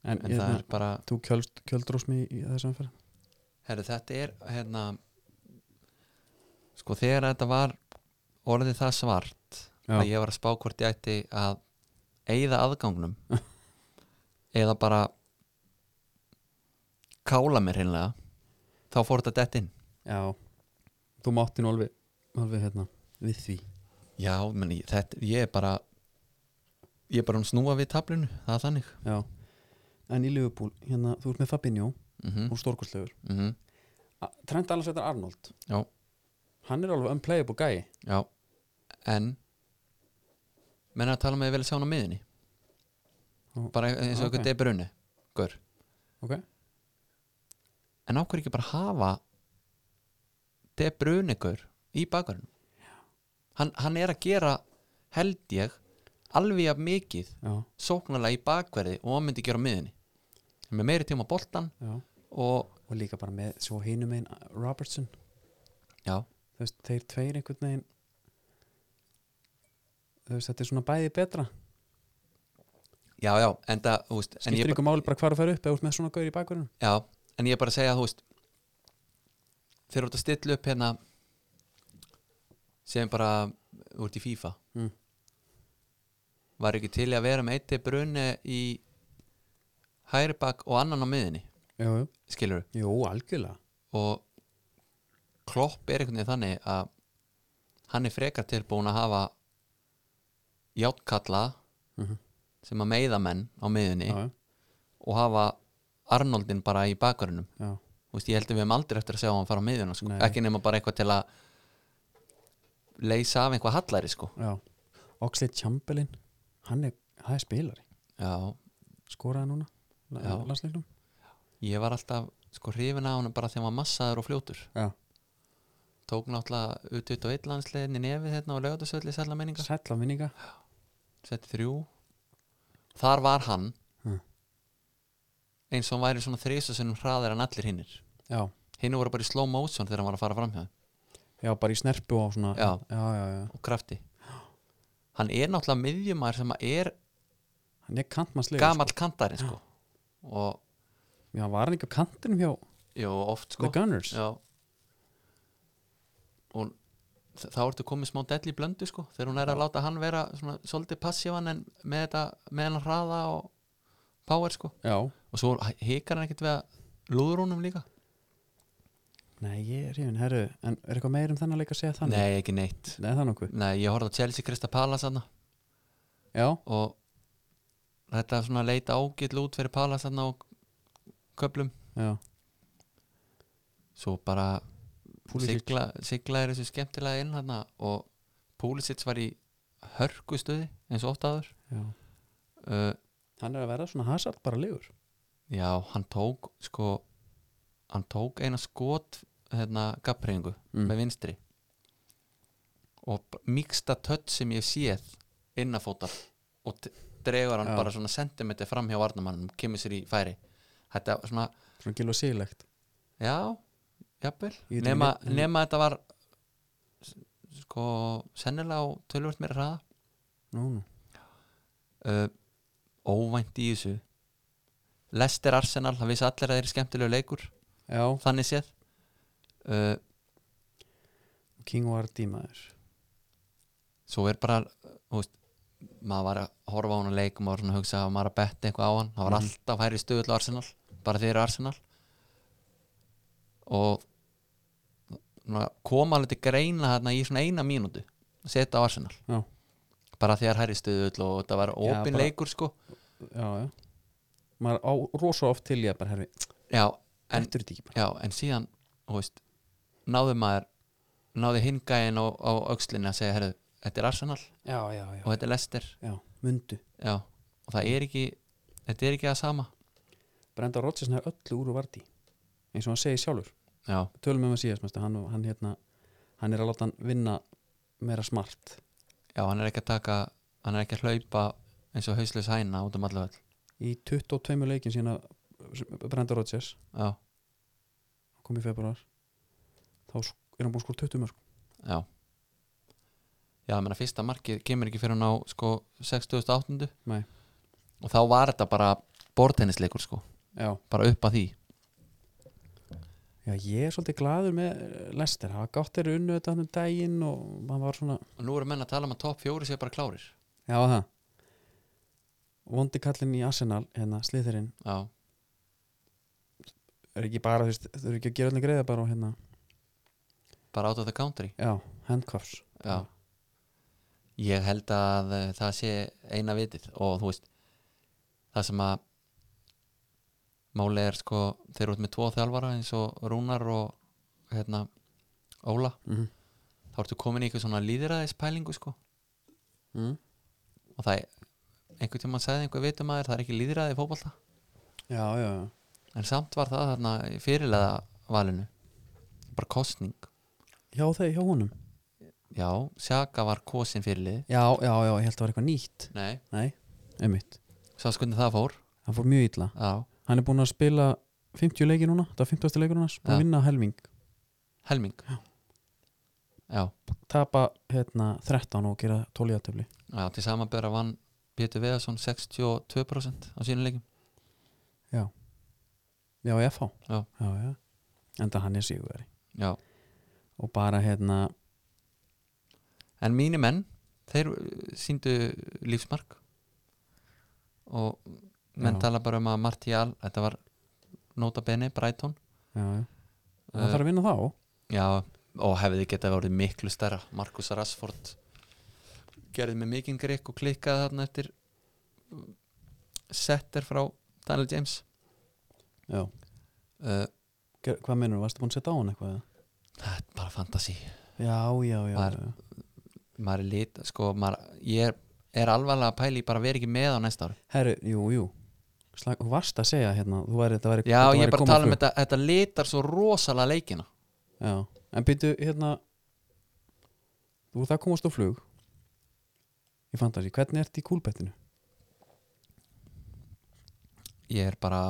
Speaker 1: En,
Speaker 2: en
Speaker 1: en
Speaker 2: það
Speaker 1: hérna,
Speaker 2: er bara,
Speaker 1: þú kjöld, kjöldrós mig í þessum fyrir
Speaker 2: herru, þetta er hérna sko þegar þetta var orðið það svart að
Speaker 1: Já,
Speaker 2: ég var að spá hvort ég ætti að eyða aðgangnum eða bara kála mér hinnlega þá fór þetta dett inn
Speaker 1: já Þú mátti nú alveg, alveg hérna, við því
Speaker 2: já, meni, þetta, ég er bara ég er bara um snúa við tablinu það er þannig
Speaker 1: Já, en í Liverpool hérna, þú ert með Fabinho
Speaker 2: mm -hmm.
Speaker 1: og stórkostlegur
Speaker 2: Mm
Speaker 1: A- Trent Alexander Arnold
Speaker 2: Já.
Speaker 1: Hann er alveg unplayable gæi
Speaker 2: já, en menn að tala með að vilja sjá hann á miðinni
Speaker 1: Ó,
Speaker 2: bara eins og
Speaker 1: ok.
Speaker 2: okay. eitthvað debrunni gaur
Speaker 1: Ok.
Speaker 2: en á hverju ekki bara hafa debrunni gaur í bakarinn hann, hann er að gera held ég alveg að mikið
Speaker 1: Já,
Speaker 2: sóknarlega í bakverði og hann myndi gera á miðinni Hann er með meiri tíma á boltan
Speaker 1: já
Speaker 2: og
Speaker 1: Og líka bara með svo hinum einn Robertson
Speaker 2: já,
Speaker 1: þú veist, Þeir tveir einhvern veginn Þú veist, þetta er svona bæði betra
Speaker 2: já, já en það, þú veist en ég
Speaker 1: Skiptir ykkur máli bara hvar þú fer upp eða út með svona gaur í bakverðinu
Speaker 2: Já, en ég er bara að segja þú veist þeir eru að stilla upp hérna sem bara úr í FIFA
Speaker 1: Mm.
Speaker 2: var ekki til í að vera með eitt til brunni í hægri bak og annan á miðinni
Speaker 1: Jú, jú,
Speaker 2: skilur
Speaker 1: jú, algjörlega
Speaker 2: og Klopp er einhvern veginn þannig að hann er frekar tilbúin að hafa játkalla
Speaker 1: Mhm.
Speaker 2: sem að meiða menn á miðinni
Speaker 1: Já,
Speaker 2: og hafa Arnoldin bara í bakarinnum
Speaker 1: já, já,
Speaker 2: Þú veist, ég held að við hefum aldrei eftir að sjá hann fara á miðjuna sko.
Speaker 1: Nei.
Speaker 2: ekki nema bara eitthvað til að leysa af einhvað hallari sko.
Speaker 1: já. Oxlade Chamberlain Hann er, það er spilari
Speaker 2: já,
Speaker 1: Skoraði núna,
Speaker 2: Já.
Speaker 1: landsleiknum
Speaker 2: ég var alltaf sko hrifin af hann bara þegar hann var massaður og fljótur
Speaker 1: Já.
Speaker 2: tók náttúrulega ut ut og eitt landsliðin í nefið hérna og lögðasöldi sælla minninga
Speaker 1: Sætla minninga
Speaker 2: setti þrjú þar var hann
Speaker 1: Mm.
Speaker 2: eins og hann væri svona þrísasunum hraðir en allir hinnir
Speaker 1: Já,
Speaker 2: hinn voru bara í slow motion þegar hann var að fara framhjá þeim.
Speaker 1: já, bara í snerpu og svona
Speaker 2: Já.
Speaker 1: já, já, já.
Speaker 2: og krafti hann er náttúrulega miðjumar sem að er
Speaker 1: Hann er kantmannslegur
Speaker 2: gamall kantari sko. og
Speaker 1: sko. Já, var hann ekki á kantinum hjá
Speaker 2: jú, oft sko
Speaker 1: The Gunners
Speaker 2: já. og þ- þá ertu komið smá dell í blöndu sko þegar hún er að láta hann vera svona, svolítið passívan en með þetta með hann hraða og power sko
Speaker 1: Já.
Speaker 2: og svo hikar hann ekkert við að lúður honum líka
Speaker 1: Nei, ég er hérna, herru En er eitthvað meir um þennan leik að segja þannig?
Speaker 2: nei ekki neitt
Speaker 1: Nei, það nokkuð
Speaker 2: nei, ég horfði á Chelsea Krista Palace hann
Speaker 1: Já,
Speaker 2: og þetta svona leita ágill út fyrir Palace hann og köplum
Speaker 1: já
Speaker 2: svo bara
Speaker 1: Púlisic.
Speaker 2: sigla, sigla er þessu skemmtilega inn hana, og Púlisits var í hörku stuði eins og oft áður
Speaker 1: Já.
Speaker 2: uh,
Speaker 1: Hann er að vera svona hasalt bara legur
Speaker 2: já, hann tók sko, hann tók eina skot hérna, gappreyingu
Speaker 1: Mm.
Speaker 2: með vinstri og miksta tött sem ég hef séð innafótar og t- dregur hann
Speaker 1: Já.
Speaker 2: bara svona sentimetri fram hjá varnamannum, kemur sér í færi þetta var svona,
Speaker 1: svona gil og sílegt
Speaker 2: já jafnvel,
Speaker 1: Ég veit ekki
Speaker 2: nema,
Speaker 1: neitt-
Speaker 2: nema þetta var s- sko sennilega og tölvöld meira hraða
Speaker 1: nú, nú.
Speaker 2: uh, óvænt í þessu Lester Arsenal, það vissi allir að þeir eru skemmtilegu leikur
Speaker 1: já,
Speaker 2: þannig séð uh,
Speaker 1: King var dímaður
Speaker 2: svo er bara þú veist, maður var að horfa á hann að leik og maður var svona að hugsa að maður var að betta eitthvað á hann það var
Speaker 1: Mhm.
Speaker 2: alltaf hærri stöðu til Arsenal bara þeir eru Arsenal og svona, koma alveg til greina þarna í svona eina mínútu að setja á Arsenal
Speaker 1: Já.
Speaker 2: bara þegar hærri stöðu og þetta var
Speaker 1: Já,
Speaker 2: opin
Speaker 1: bara-
Speaker 2: leikur sko
Speaker 1: já, já maður á rosa oft til ég bara herfi
Speaker 2: já, en
Speaker 1: eftir þetta ekki bara
Speaker 2: Já, en síðan, þú veist náði maður, náði hingæin á, á öxlinni að segja, herru, þetta er Arsenal
Speaker 1: já, já, já,
Speaker 2: og þetta er Leicester
Speaker 1: já, mundu
Speaker 2: já, og það er ekki þetta er ekki það sama
Speaker 1: Brenda Rodgers nær öllu úr og varti eins og hann segir sjálfur,
Speaker 2: já,
Speaker 1: tölum um að síðast mæstu, hann, hann, hérna, hann er að láta hann vinna meira smart
Speaker 2: já, hann er ekki að taka hann er ekki að hlaupa eins og hauslis hæna út um allu öll
Speaker 1: í 22 leikin síðan að Brenda Rodgers
Speaker 2: já,
Speaker 1: kom í februar þá sk- er hann búin að skora 20 mörg
Speaker 2: já já, menna fyrsta markið kemur ekki fyrir hann á sko 68.
Speaker 1: Nei.
Speaker 2: og þá var þetta bara bortennisleikur sko,
Speaker 1: já.
Speaker 2: bara upp að því
Speaker 1: já, ég er svolítið glaður með eh, Lester, það var gátt þeirri unnu þetta hann um daginn og hann var svona
Speaker 2: og nú eru menn að tala um að topp fjóri sé bara klárir
Speaker 1: já, það vondi kallinn í Arsenal, hérna, sliðurinn
Speaker 2: já,
Speaker 1: er ekki bara, þú veist, þau eru ekki að gera allir greiða bara og hérna,
Speaker 2: bara out of the country
Speaker 1: já, handcuffs
Speaker 2: Já. Ég held að eh, það sé eina vitið og þú veist það sem að máli er sko þeir eru út með tvo þjálfara eins og Rúnar og hérna Óla
Speaker 1: Mhm.
Speaker 2: þá ertu komin í eitthvað svona líðræðis pælingu sko
Speaker 1: mm.
Speaker 2: og það er einhvern tímann sagði einhver vitum að það er ekki líðræði í fótbolta
Speaker 1: já, já, já
Speaker 2: en samt var það þarna í fyrirlega valinu bara kostning
Speaker 1: hjá þeir, hjá honum
Speaker 2: já, Sjaka var kosin fyrirlið
Speaker 1: já, já, já, ég held að það var eitthvað nýtt
Speaker 2: nei,
Speaker 1: nei, einmitt,
Speaker 2: sá skundi það fór
Speaker 1: hann fór mjög illa
Speaker 2: já,
Speaker 1: hann er búin að spila 50 leiki núna, þetta er 50. leikur núna búin
Speaker 2: Já.
Speaker 1: að vinna helming,
Speaker 2: helming já.
Speaker 1: tapa hérna 13 og gera 12 í aðtöfli
Speaker 2: Já, til samanbera vann Pétur Veðarsson 62% á sínum leikum
Speaker 1: já, FH
Speaker 2: Já.
Speaker 1: já, já. enda hann er sigurveri
Speaker 2: Já.
Speaker 1: og bara hérna,
Speaker 2: En mínir menn, þeir síndu lífsmark og menn
Speaker 1: Já.
Speaker 2: tala bara um að Martial, þetta var nota bene, Brighton
Speaker 1: já, já hann
Speaker 2: Uh,
Speaker 1: þarf að vinna þá
Speaker 2: Já, og hefði geta verið miklu stærra Markus Rashford gerði með mikinn grikk og klikkaði þarna eftir uh, setter frá Daniel James
Speaker 1: já.
Speaker 2: uh,
Speaker 1: Ger- hvað mennur, varstu búin að setja á hann eitthvað eða?
Speaker 2: Það er bara fantasi
Speaker 1: já, já, já,
Speaker 2: Var-
Speaker 1: já.
Speaker 2: maður er lit sko, maður, ég er, er alvarlega að pæli bara verið ekki með á næsta ári
Speaker 1: herru, jú, jú Slag, þú varst að segja hérna, þú væri, þetta væri
Speaker 2: já,
Speaker 1: þetta
Speaker 2: ég
Speaker 1: væri
Speaker 2: er bara að
Speaker 1: koma
Speaker 2: tala um
Speaker 1: flug.
Speaker 2: þetta þetta litar svo rosalega leikina
Speaker 1: já, en byrju, hérna þú það komast á flug ég fant að sé, hvernig ertu í kúlbettinu
Speaker 2: ég er bara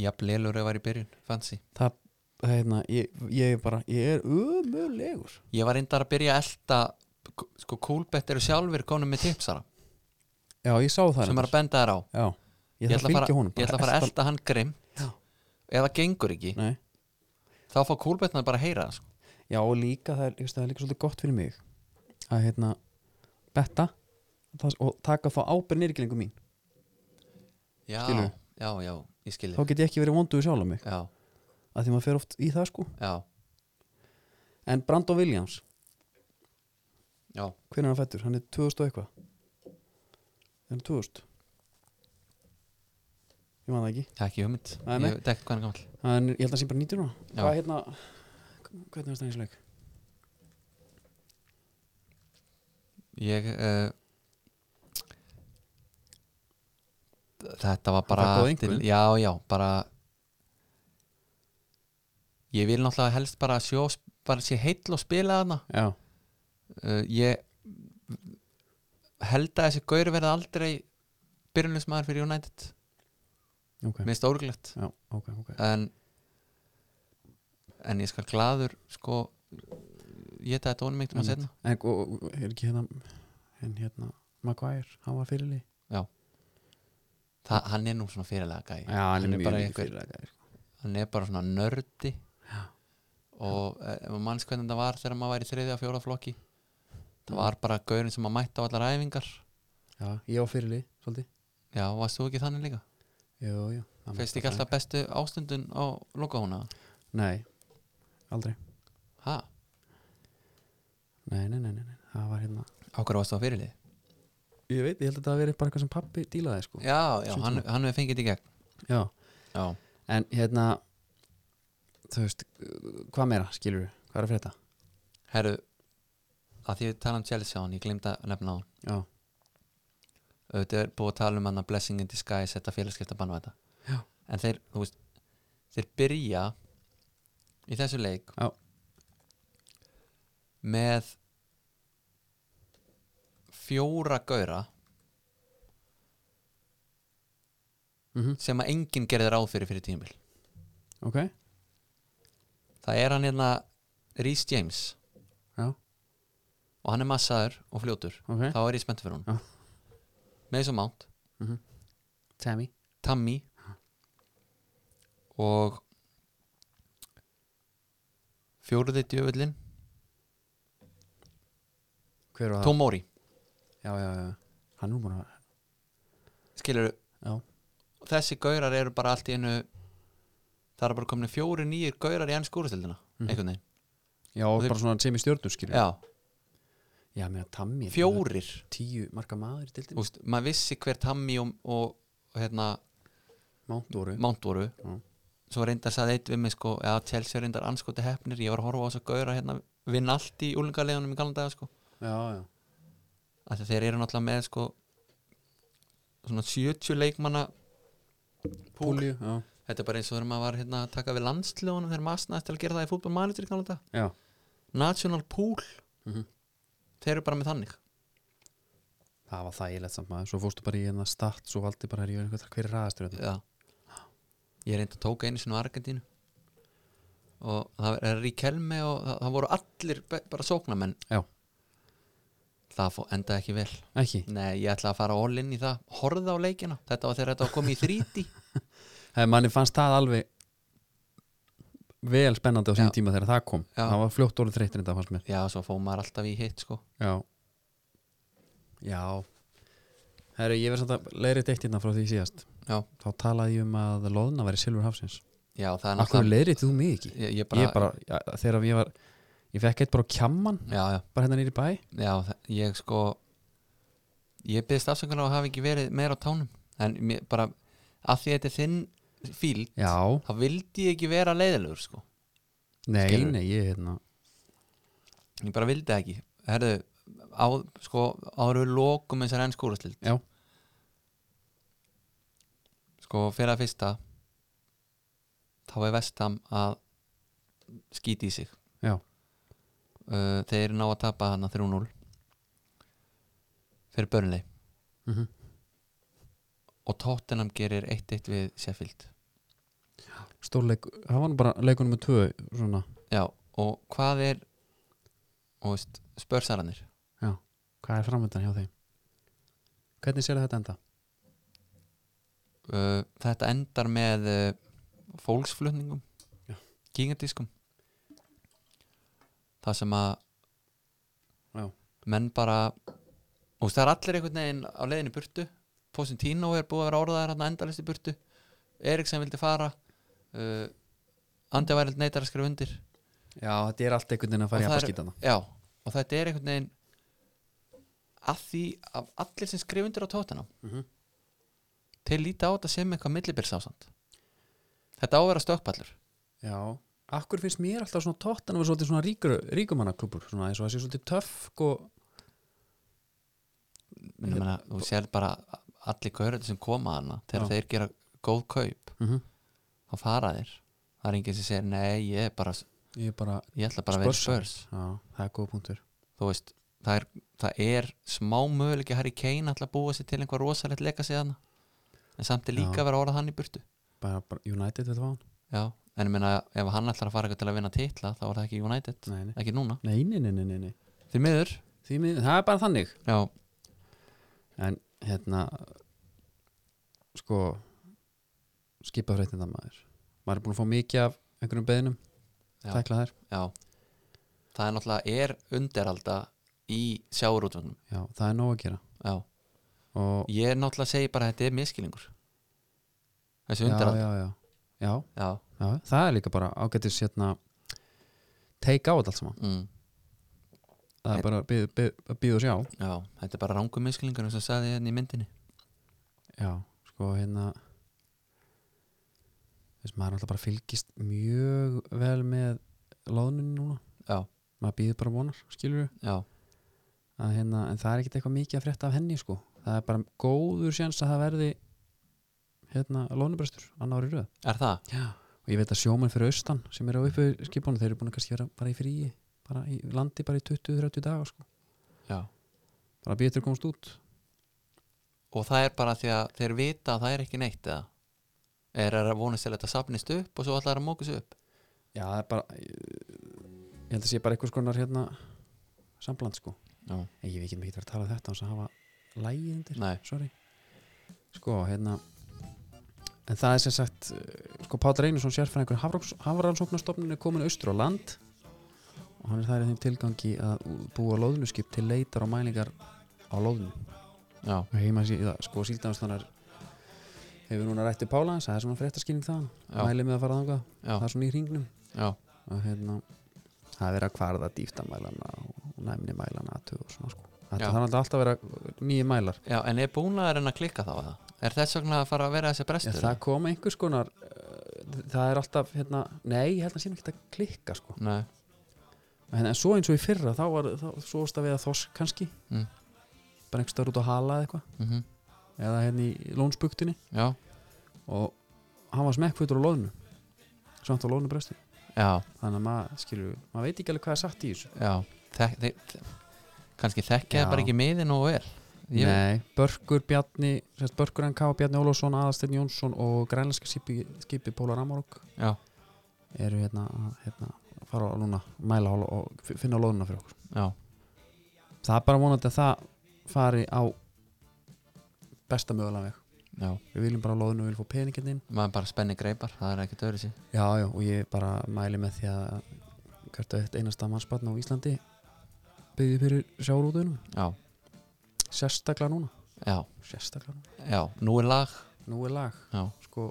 Speaker 2: jafn lélur ef ég var í byrjun, fancy
Speaker 1: það, það, hérna, ég, ég er bara ég er ömulegur
Speaker 2: ég var reyndar að byrja að elta sko, kúlbett eru sjálfur konum með tipsara
Speaker 1: já, ég sá það
Speaker 2: sem
Speaker 1: reyndar.
Speaker 2: er að benda þær á
Speaker 1: Já, ég
Speaker 2: ég
Speaker 1: þarf að
Speaker 2: ætla að fara,
Speaker 1: fylgja honum
Speaker 2: ég ætla að, fara að elta hann grimm
Speaker 1: Já.
Speaker 2: ef það gengur ekki,
Speaker 1: Nei.
Speaker 2: þá fá kúlbettnar bara að heyra það sko.
Speaker 1: Já, og líka það er, þú veist, það er líka svolítið gott fyrir mig að hérna betta það, og taka þá ábyrð nýrgjölingu mín
Speaker 2: já,
Speaker 1: Skilurðu?
Speaker 2: já, já, ég
Speaker 1: þá
Speaker 2: skilur
Speaker 1: get ég ekki verið vonduð sjálf mig
Speaker 2: já,
Speaker 1: að því maður fer oft í það sko
Speaker 2: já,
Speaker 1: en Brandon Williams,
Speaker 2: já,
Speaker 1: hvernig er hann fættur? Hann er 2000 og eitthvað er hann 2000? Ég man það ekki
Speaker 2: það er ekki hugmynd
Speaker 1: Nei,
Speaker 2: ég
Speaker 1: nei.
Speaker 2: veit ekki hvað hann er gamall
Speaker 1: hann, er- Ég held að hann sé bara 90 núna
Speaker 2: Já.
Speaker 1: Hvað hérna, hvernig er það eins leik?
Speaker 2: eh, Ég uh, þetta var bara
Speaker 1: Hann fær góð einkunn.
Speaker 2: já, já, bara ég vil náttúrulega helst bara sjó bara sé heill og spila þarna
Speaker 1: já,
Speaker 2: uh, ég held að þessi gaur verði aldrei byrjunlismæður fyrir United
Speaker 1: ok,
Speaker 2: minnst órglegt
Speaker 1: já, ok, ok
Speaker 2: en en ég skal glaður sko ég þetta þetta honum einhvern veginn setna
Speaker 1: en, og, og er ekki hérna en hérna, Maguire, hann var fyrirli
Speaker 2: Þa, hann er nú svona fyrirlega gæi
Speaker 1: já, hann er
Speaker 2: bara
Speaker 1: mjög
Speaker 2: einhver-
Speaker 1: fyrirlega gæði
Speaker 2: hann er bara svona nördi og eh, ef maður manns hvernig það var þegar maður var í þriðja og fjóra flokki það var bara gaurin sem maður mætti á allar æfingar
Speaker 1: já, ég var fyrirli, svolítið
Speaker 2: já, varst þú ekki þannig líka?
Speaker 1: jú, jú hann
Speaker 2: feist
Speaker 1: var
Speaker 2: ekki alltaf bestu ástundun á lokahóna?
Speaker 1: nei, aldrei,
Speaker 2: ha,
Speaker 1: nei, nei, nei, nei, nei. það var hérna
Speaker 2: á hverju varst þú á fyrirlið?
Speaker 1: ég veit, ég held að það hafi verið bara eitthvað sem pappi dílaði sko.
Speaker 2: já, já,
Speaker 1: Svolítið.
Speaker 2: hann, hann hefur fengið þetta í gegn
Speaker 1: já,
Speaker 2: já,
Speaker 1: en hérna þú veist, hvað meira skilur við, hvað er að frétta
Speaker 2: herru að því við tala um Chelsea á hann, ég glemd að nefna á hann
Speaker 1: já,
Speaker 2: auðvitað er búið að tala um hann að blessing in disguise þetta félagskipta bann og þetta
Speaker 1: Já.
Speaker 2: en þeir, þú veist, þeir byrja í þessu leik
Speaker 1: Já.
Speaker 2: með fjóra gaura
Speaker 1: mm
Speaker 2: sem að enginn gerði ráð fyrir fyrir tímil
Speaker 1: ok,
Speaker 2: það er hann hérna Rhys James
Speaker 1: já,
Speaker 2: og hann er massaður og fljótur
Speaker 1: ok
Speaker 2: þá er ég spennt fyrir
Speaker 1: Já.
Speaker 2: hún Mason Mount,
Speaker 1: Tammy,
Speaker 2: Tammy og fjóruði djöfullin
Speaker 1: hver var það?
Speaker 2: Tom Mori,
Speaker 1: já, já, já, hann er nú búin að
Speaker 2: skilur
Speaker 1: já,
Speaker 2: þessi gaurar eru bara allt í einu það eru bara komin fjóri nýjir gaurar í enn skúrastildina
Speaker 1: Mhm.
Speaker 2: einhvern veginn,
Speaker 1: já og
Speaker 2: Þeir-
Speaker 1: bara svona sem í stjórnum skilur við.
Speaker 2: já,
Speaker 1: já, meðan Tammy er
Speaker 2: fjórir
Speaker 1: tíu marka maður til
Speaker 2: Úst, maður vissi hver Tammy og, og hérna,
Speaker 1: Mántóru
Speaker 2: Mount voru
Speaker 1: Já.
Speaker 2: svo reyndar saði eitt við mig sko já, Chelsea er reyndar anskoti hefnir, ég var að horfa á þess að gauðra hérna, vinna allt í úlingarleðunum í galan daga sko,
Speaker 1: já, já,
Speaker 2: af því að þeir eru náttúrulega með sko svona 70 leikmanna púl,
Speaker 1: Púlju já,
Speaker 2: þetta er bara eins og þegar maður var hérna að taka við landslegunum, þeir masnaðist til að gera það í fútbol manager í galan daga,
Speaker 1: já,
Speaker 2: national pool
Speaker 1: Mhm.
Speaker 2: þeir eru bara með þannig
Speaker 1: það var þægilegt samt maður svo fórstu bara í hérna start, svo valdi bara er ég einhvern veginn hver er hérna? raðastur þetta
Speaker 2: já. ég reyndi að tóka einu sinni á Argentínu og það er Ríkelme og það, það voru allir be- bara sóknamenn
Speaker 1: Já.
Speaker 2: það fó, endaði ekki vel
Speaker 1: ekki,
Speaker 2: nei, ég ætla að fara all in í það, horfða á leikina þetta var þegar þetta var komið í þríti
Speaker 1: Hei, Eh, manni fannst það alveg vel spennandi á sín
Speaker 2: Já.
Speaker 1: tíma þegar það kom
Speaker 2: Já.
Speaker 1: það var fljótt orðið þreyttir en það fannst mér
Speaker 2: já, svo fóð maður alltaf í hitt sko
Speaker 1: já, já. Herru, ég verð samt að leiðrétt eitt hérna frá því síðast
Speaker 2: já,
Speaker 1: þá talaði ég um að loðna væri silfur hafsins
Speaker 2: já það er
Speaker 1: Akkur
Speaker 2: náttúrulega
Speaker 1: leiðrétt þú mig ekki?
Speaker 2: ég, ég bara,
Speaker 1: Ég bara, ja, þegar ég var ég fekk eitt bara á kjamman
Speaker 2: já, já,
Speaker 1: bara hérna nýri bæ
Speaker 2: já, það- ég sko ég byggðist afsökunar á að hafa ekki verið meira á tánum en mér, bara, af því þetta er þinn fíl
Speaker 1: Já,
Speaker 2: þá vildi ég ekki vera leiðilegur sko.
Speaker 1: nei,
Speaker 2: Skilurðu?
Speaker 1: nei, ég hérna
Speaker 2: ég bara vildi það ekki Herðu, á, sko, áður við lokum þessar enn skúrastild
Speaker 1: Já.
Speaker 2: sko fyrir að fyrsta þá er vestam að skýti í sig
Speaker 1: Já.
Speaker 2: Uh, þeir ná að tapa hana 3-0 fyrir börnlei
Speaker 1: mm
Speaker 2: og Tottenham gerir 1-1 við Sheffield
Speaker 1: Stórleik, það var nú bara leikunum með tvö svona,
Speaker 2: já, og hvað er og veist, spörsaranir
Speaker 1: hvað er framöndan hjá þeim? Hvernig sér þetta enda?
Speaker 2: uh, þetta endar með uh, fólksflutningum
Speaker 1: Já.
Speaker 2: gígandískum það sem að
Speaker 1: Já.
Speaker 2: menn bara og það er allir einhvern veginn á leiðinni í burtu Posentino er búið að vera orðaðar hann endalist í burtu Eriksen vildi fara uh, Andi Værild neitar að skrifa undir
Speaker 1: Já, þetta er allt einhvern veginn að
Speaker 2: Og
Speaker 1: fara í
Speaker 2: það er-
Speaker 1: appaskítana
Speaker 2: já, og þetta er einhvern veginn að því af allir sem skrifa undir á tóttina
Speaker 1: Mhm.
Speaker 2: þeir líta á þetta sem eitthvað millibyrsástand þetta á að vera stökkpallur
Speaker 1: Já, akkur finnst mér alltaf svona tóttan að vera svolítið svona ríkur, ríkumannaklubur svona eins og það sé svolítið töff og
Speaker 2: Ég meina, þú sér bara allir gaurið sem koma hana þegar
Speaker 1: Já.
Speaker 2: þeir gera góð kaup
Speaker 1: mm
Speaker 2: þá fara þeir það er enginn sem segir nei ég er bara
Speaker 1: ég er bara
Speaker 2: ég ætla bara að vera í
Speaker 1: Spursar.
Speaker 2: spörs
Speaker 1: já, það er góð punktur
Speaker 2: þú veist það er, það er smá möguleiki Harry Kane ætla að búa sér til einhver rosalegt leika sig hana en samt er líka
Speaker 1: Já.
Speaker 2: að vera að orða hann í burtu
Speaker 1: bara, bara United þetta var hann
Speaker 2: já en ég meina ef hann ætlar að fara eitthvað til að vinna titla þá er það ekki United
Speaker 1: nei, nei.
Speaker 2: ekki núna
Speaker 1: Nei, nei, nei, nei, nei, nei.
Speaker 2: því miður
Speaker 1: Því, mið- það er bara þannig
Speaker 2: já
Speaker 1: en hérna sko skipa fréttinda maður maður er búin að fá mikið af einhverjum beðinum
Speaker 2: Já.
Speaker 1: tækla þær
Speaker 2: já það er náttúrulega er undiralda í sjáurútvögnum
Speaker 1: já, það er nóg að gera
Speaker 2: já
Speaker 1: og
Speaker 2: ég er náttúrulega að segja bara að þetta er miskilingur
Speaker 1: já,
Speaker 2: þessi undiralda já,
Speaker 1: já, já. Já,
Speaker 2: já.
Speaker 1: já, það er líka bara ágættis hérna take out allt saman
Speaker 2: Mm,
Speaker 1: það er bara að bíða- bíða- að bíða og sjá
Speaker 2: já þetta er bara rangum miskilingur eins og sagði hérna í myndinni
Speaker 1: já, sko hérna þess maður er alltaf bara fylgist mjög vel með loðnunni núna
Speaker 2: já
Speaker 1: maður býður bara vonar, skilur
Speaker 2: já
Speaker 1: að hérna, en það er ekkert eitthvað mikið að frétta af henni sko, það er bara góður sjans að það verði hérna, lónubrestur, annar ári röð
Speaker 2: er það
Speaker 1: já. og ég veit að sjómenn fyrir austan sem eru á uppu skipunum, þeir eru búin að kannski vera bara í fríi bara í landi bara í 20-30 daga sko,
Speaker 2: já
Speaker 1: bara býður til að komast út
Speaker 2: og það er bara því að þeir vita að það er ekki neitt eða er það að vonast til að þetta sapnist upp og svo ætlar það að móka sig upp
Speaker 1: já, það er bara ég ég held að sé bara einhvers konar hérna sambland sko,
Speaker 2: já,
Speaker 1: en ég veit ekki mikið verið að tala um þetta og að hafa lægið undir
Speaker 2: nei,
Speaker 1: sorry sko, hérna en það er sem sagt eh, sko, Páll Reynarsson sérfræðingur Hafrannsóknastofnun er komin austur á land og hann er þær í þeim tilgangi að búa lóðnuskip til leitar og mælingar á lóðnu
Speaker 2: já,
Speaker 1: og heima síða, sko, síldanstanar hefur núna rætti Pála hans það er svona fréttaskýring það,
Speaker 2: Já.
Speaker 1: mælið með að fara þangað
Speaker 2: já,
Speaker 1: það er svona í hringnum
Speaker 2: já,
Speaker 1: og hérna, það er verið að kvarða dýftamælana og næmni mælana athug og svona, sko.
Speaker 2: Já.
Speaker 1: þetta þarf alltaf að vera nýju mælar
Speaker 2: já en er búin að reyna að klikka þá eða? er þess vegna að fara að vera þessi
Speaker 1: Já,
Speaker 2: brestur
Speaker 1: það kom einhvers konar uh, það er alltaf, hérna, nei, ég held að sé ekki að klikka, sko,
Speaker 2: nei,
Speaker 1: en, en svo eins og í fyrra, þá var þá, svo varst að við að þosk, kannski
Speaker 2: Mm.
Speaker 1: bara einhvers stöður út á hala eða eitthvað
Speaker 2: mhm
Speaker 1: eða hérna í lónsbuktinni
Speaker 2: já,
Speaker 1: og hann var smekkfutur á loðnu samt á loðnu brösti
Speaker 2: já,
Speaker 1: þannig að maður, skilur, maður veit ekki alveg hvað er satt í þessu
Speaker 2: já þek, þek, þek, kannski þekkja
Speaker 1: Já.
Speaker 2: það bara ekki miðin og vel ég,
Speaker 1: Nei, Börkur Bjarni sérst, Börkur NK, Bjarni Ólafsson, Aðarsteinn Jónsson og grænlenska skipi, skipi Pólar Amorok
Speaker 2: já,
Speaker 1: eru hérna, að, hérna að fara á lúna, mæla og, og fi- finna loðuna fyrir okkur
Speaker 2: já,
Speaker 1: það er bara vonandi að það fari á besta mögulega veg
Speaker 2: já
Speaker 1: við viljum bara loðinu, við viljum fá peningin inn
Speaker 2: maður bara spenni greipar, það er ekkert öðru sér
Speaker 1: já, já, og ég bara mæli með því að hvert og eitt einasta mannsbarn á Íslandi byggði fyrir sjárútunum
Speaker 2: já,
Speaker 1: sérstaklega núna
Speaker 2: já,
Speaker 1: sérstaklega núna,
Speaker 2: já, nú er lag
Speaker 1: nú er lag
Speaker 2: já,
Speaker 1: sko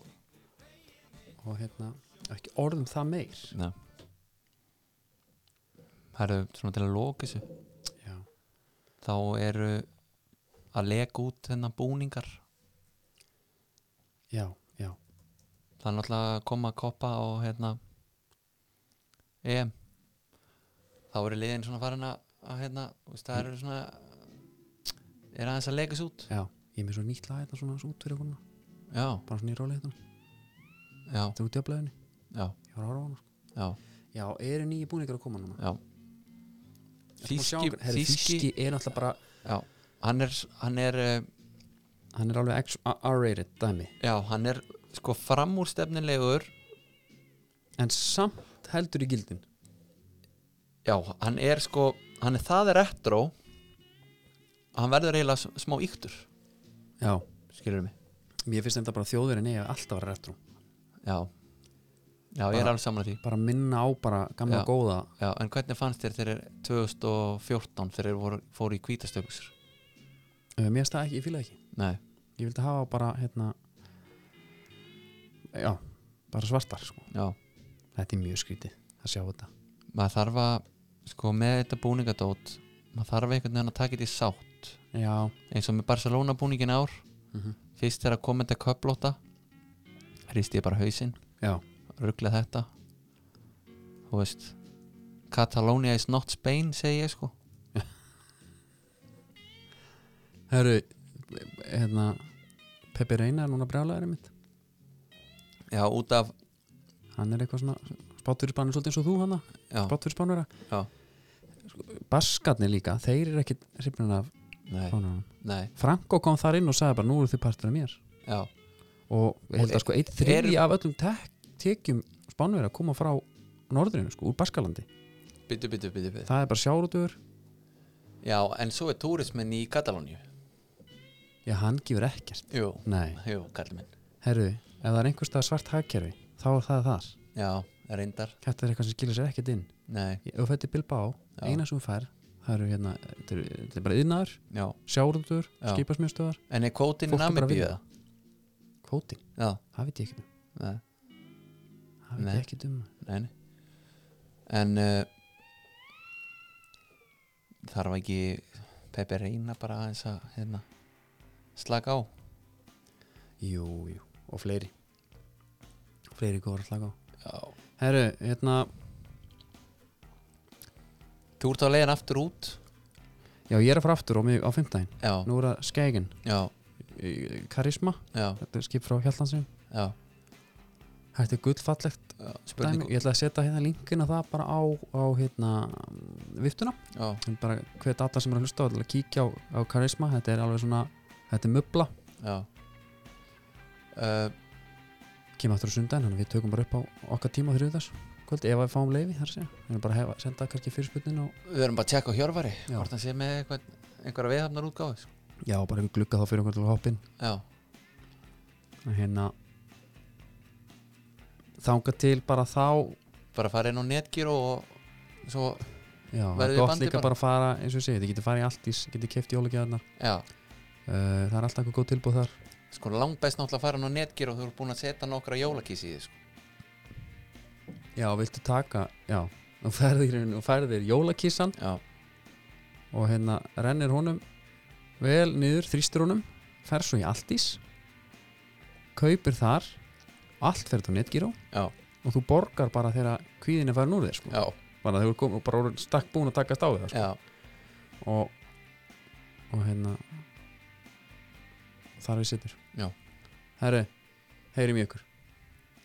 Speaker 1: og hérna, ekki orðum það meir
Speaker 2: já það eru svona til að loka þessu
Speaker 1: já,
Speaker 2: þá eru að leka út þennan búningar
Speaker 1: já, já
Speaker 2: það er náttúrulega að koma að koppa og hérna EM þá eru liðin svona farin að, að hérna, þú veist, það eru svona er aðeins að leika þessu út
Speaker 1: já, ég er með svo nýtt lag hérna svona út fyrir hún,
Speaker 2: já,
Speaker 1: bara svona í róli hérna
Speaker 2: já,
Speaker 1: þetta er út í afblæðinu,
Speaker 2: já,
Speaker 1: ég var að ára á hana sko.
Speaker 2: já,
Speaker 1: já, eru nýju búningar að koma núna
Speaker 2: já
Speaker 1: Þíski, Herri, þíski, er náttúrulega bara
Speaker 2: já, hann er hann er, eh,
Speaker 1: hann er alveg X- R-rated dæmi
Speaker 2: já, hann er sko framúrstefnilegur
Speaker 1: en samt heldur í gildin
Speaker 2: já, hann er sko hann er það er retro hann verður eiginlega s- smá yktur
Speaker 1: já,
Speaker 2: skilur mig,
Speaker 1: mér finnst þetta bara þjóðverðin eða alltaf að vera retro
Speaker 2: já já, ég er
Speaker 1: Bara-
Speaker 2: alveg saman að því
Speaker 1: bara minna á bara gamla
Speaker 2: Já.
Speaker 1: góða
Speaker 2: Já, en hvernig fannst þér þegar 2014 þegar þeir voru- fóru í kvítastöksur?
Speaker 1: Uh, mér finnst það ekki, ég fíla það ekki
Speaker 2: Nei,
Speaker 1: ég vildi hafa bara hérna já, bara svartar sko.
Speaker 2: já,
Speaker 1: þetta er mjög skrítið að sjá þetta
Speaker 2: maður þarf að sko með þetta búningadót maður þarf einhvern veginn að taka þetta í sátt
Speaker 1: já,
Speaker 2: eins og með Barcelona búningin í ár
Speaker 1: Mhm.
Speaker 2: fyrst þegar að koma þetta köplóta hristi ég bara hausinn
Speaker 1: já,
Speaker 2: ruggla þetta þú veist Catalonia is not Spain segi ég sko
Speaker 1: herru hérna Peppi Reina er núna brjálæðari mitt
Speaker 2: já, út af
Speaker 1: hann er eitthvað svona spáttfyrirspánur svolítið eins og þú hana
Speaker 2: já,
Speaker 1: spáttfyrirspánur
Speaker 2: Já.
Speaker 1: Baskarnir líka, þeir eru ekki hrifnir af
Speaker 2: nei,
Speaker 1: spánunum
Speaker 2: nei,
Speaker 1: Franko kom þar inn og sagði bara nú eru þið partur af mér
Speaker 2: já
Speaker 1: og ég held að sko eitt
Speaker 2: er-
Speaker 1: þriði af öllum tek, tekjum spánverið að koma frá norðrinu sko, úr Baskalandi
Speaker 2: byttu, byttu, byttu, byttu
Speaker 1: það er bara sjárutur
Speaker 2: já, en svo er túrismin í Katalóníu
Speaker 1: já, hann gefur ekkert
Speaker 2: jú,
Speaker 1: nei,
Speaker 2: jú, kallið minn
Speaker 1: herru, ef það er einhverstað svart hagkerfi þá er það þar
Speaker 2: já, reyndar,
Speaker 1: þetta er eitthvað sem skilur sér ekkert inn
Speaker 2: nei,
Speaker 1: ef þú fættir Bilbao,
Speaker 2: Já.
Speaker 1: eina sem þú fær það eru hérna, þetta eru- þetta er bara yðnaður
Speaker 2: já
Speaker 1: sjárutur,
Speaker 2: Já.
Speaker 1: skipasmjöstöðar
Speaker 2: en er kvótinn í
Speaker 1: Fólk er bara að
Speaker 2: Namibíu
Speaker 1: vinna.
Speaker 2: það?
Speaker 1: kvótin,
Speaker 2: já,
Speaker 1: það veit ég ekki um.
Speaker 2: nei,
Speaker 1: það veit
Speaker 2: Nei.
Speaker 1: ég ekki um
Speaker 2: nei nei. en uh, þarf ekki Peppi reyna bara aðeins að hérna, slaka á
Speaker 1: jú, jú, og fleiri fleiri góður að slaka á
Speaker 2: já
Speaker 1: herru, hérna
Speaker 2: Þú ert á leiðin aftur út
Speaker 1: Já, ég er að fara aftur á mig á fimmtæðin
Speaker 2: Já,
Speaker 1: Nú er það Skegin,
Speaker 2: já,
Speaker 1: eh, Karisma
Speaker 2: já,
Speaker 1: Þetta er skip frá Hjallandsvíum
Speaker 2: já,
Speaker 1: Þetta er gullfallegt
Speaker 2: já Spurning
Speaker 1: dæmi Ég ætla að setja hérna linkin að það bara á, á hérna, viftuna
Speaker 2: Já,
Speaker 1: En bara hver data sem er að hlusta á, til að kíkja á, á Karisma Þetta er alveg svona, þetta er möbla
Speaker 2: já uh,
Speaker 1: Kemur aftur á sundaginn, þannig að við tökum bara upp á okkar tíma þrjóðu þess Kvöldi, ef að við fáum leifi, þar sé Við erum bara að hefa, senda kannski fyrirspunnin og
Speaker 2: Við erum bara að tjekka á Hjörvari
Speaker 1: Já.
Speaker 2: Hvort hann sé með eitthvað, einhverja viðhafnar útgáfi sko.
Speaker 1: Já, bara um glugga þá fyrir okkur til að hoppin
Speaker 2: Já,
Speaker 1: Hérna Þanga til bara þá
Speaker 2: bara fara inn á netgíru og svo,
Speaker 1: Já, það er
Speaker 2: Verðið í
Speaker 1: gott
Speaker 2: bandi
Speaker 1: líka
Speaker 2: bara?
Speaker 1: bara að fara eins og ég segi, þið getur farið í Altís, getur keft jólagjöðarnar uh,
Speaker 2: já
Speaker 1: Eh, það er alltaf eitthvað góð tilbúð þar
Speaker 2: Sko langbest náttúrulega að fara inn á netgíru og þú ert búin að setja nokkra jólakísi í því sko.
Speaker 1: Já, viltu taka, já og ferðir, og ferðir jólakísan
Speaker 2: Já,
Speaker 1: og hérna rennir honum vel niður, þrýstur honum fer svo í Altís kaupir þar allt ferður á netgíró
Speaker 2: já,
Speaker 1: og þú borgar bara þegar kvíðin er farin úr þér sko.
Speaker 2: já,
Speaker 1: bara þau eru komin og bara orðin stakk búin að takast á við það sko.
Speaker 2: já,
Speaker 1: og, og hérna þar við sittur
Speaker 2: Já.
Speaker 1: Herri, heyrim í ykkur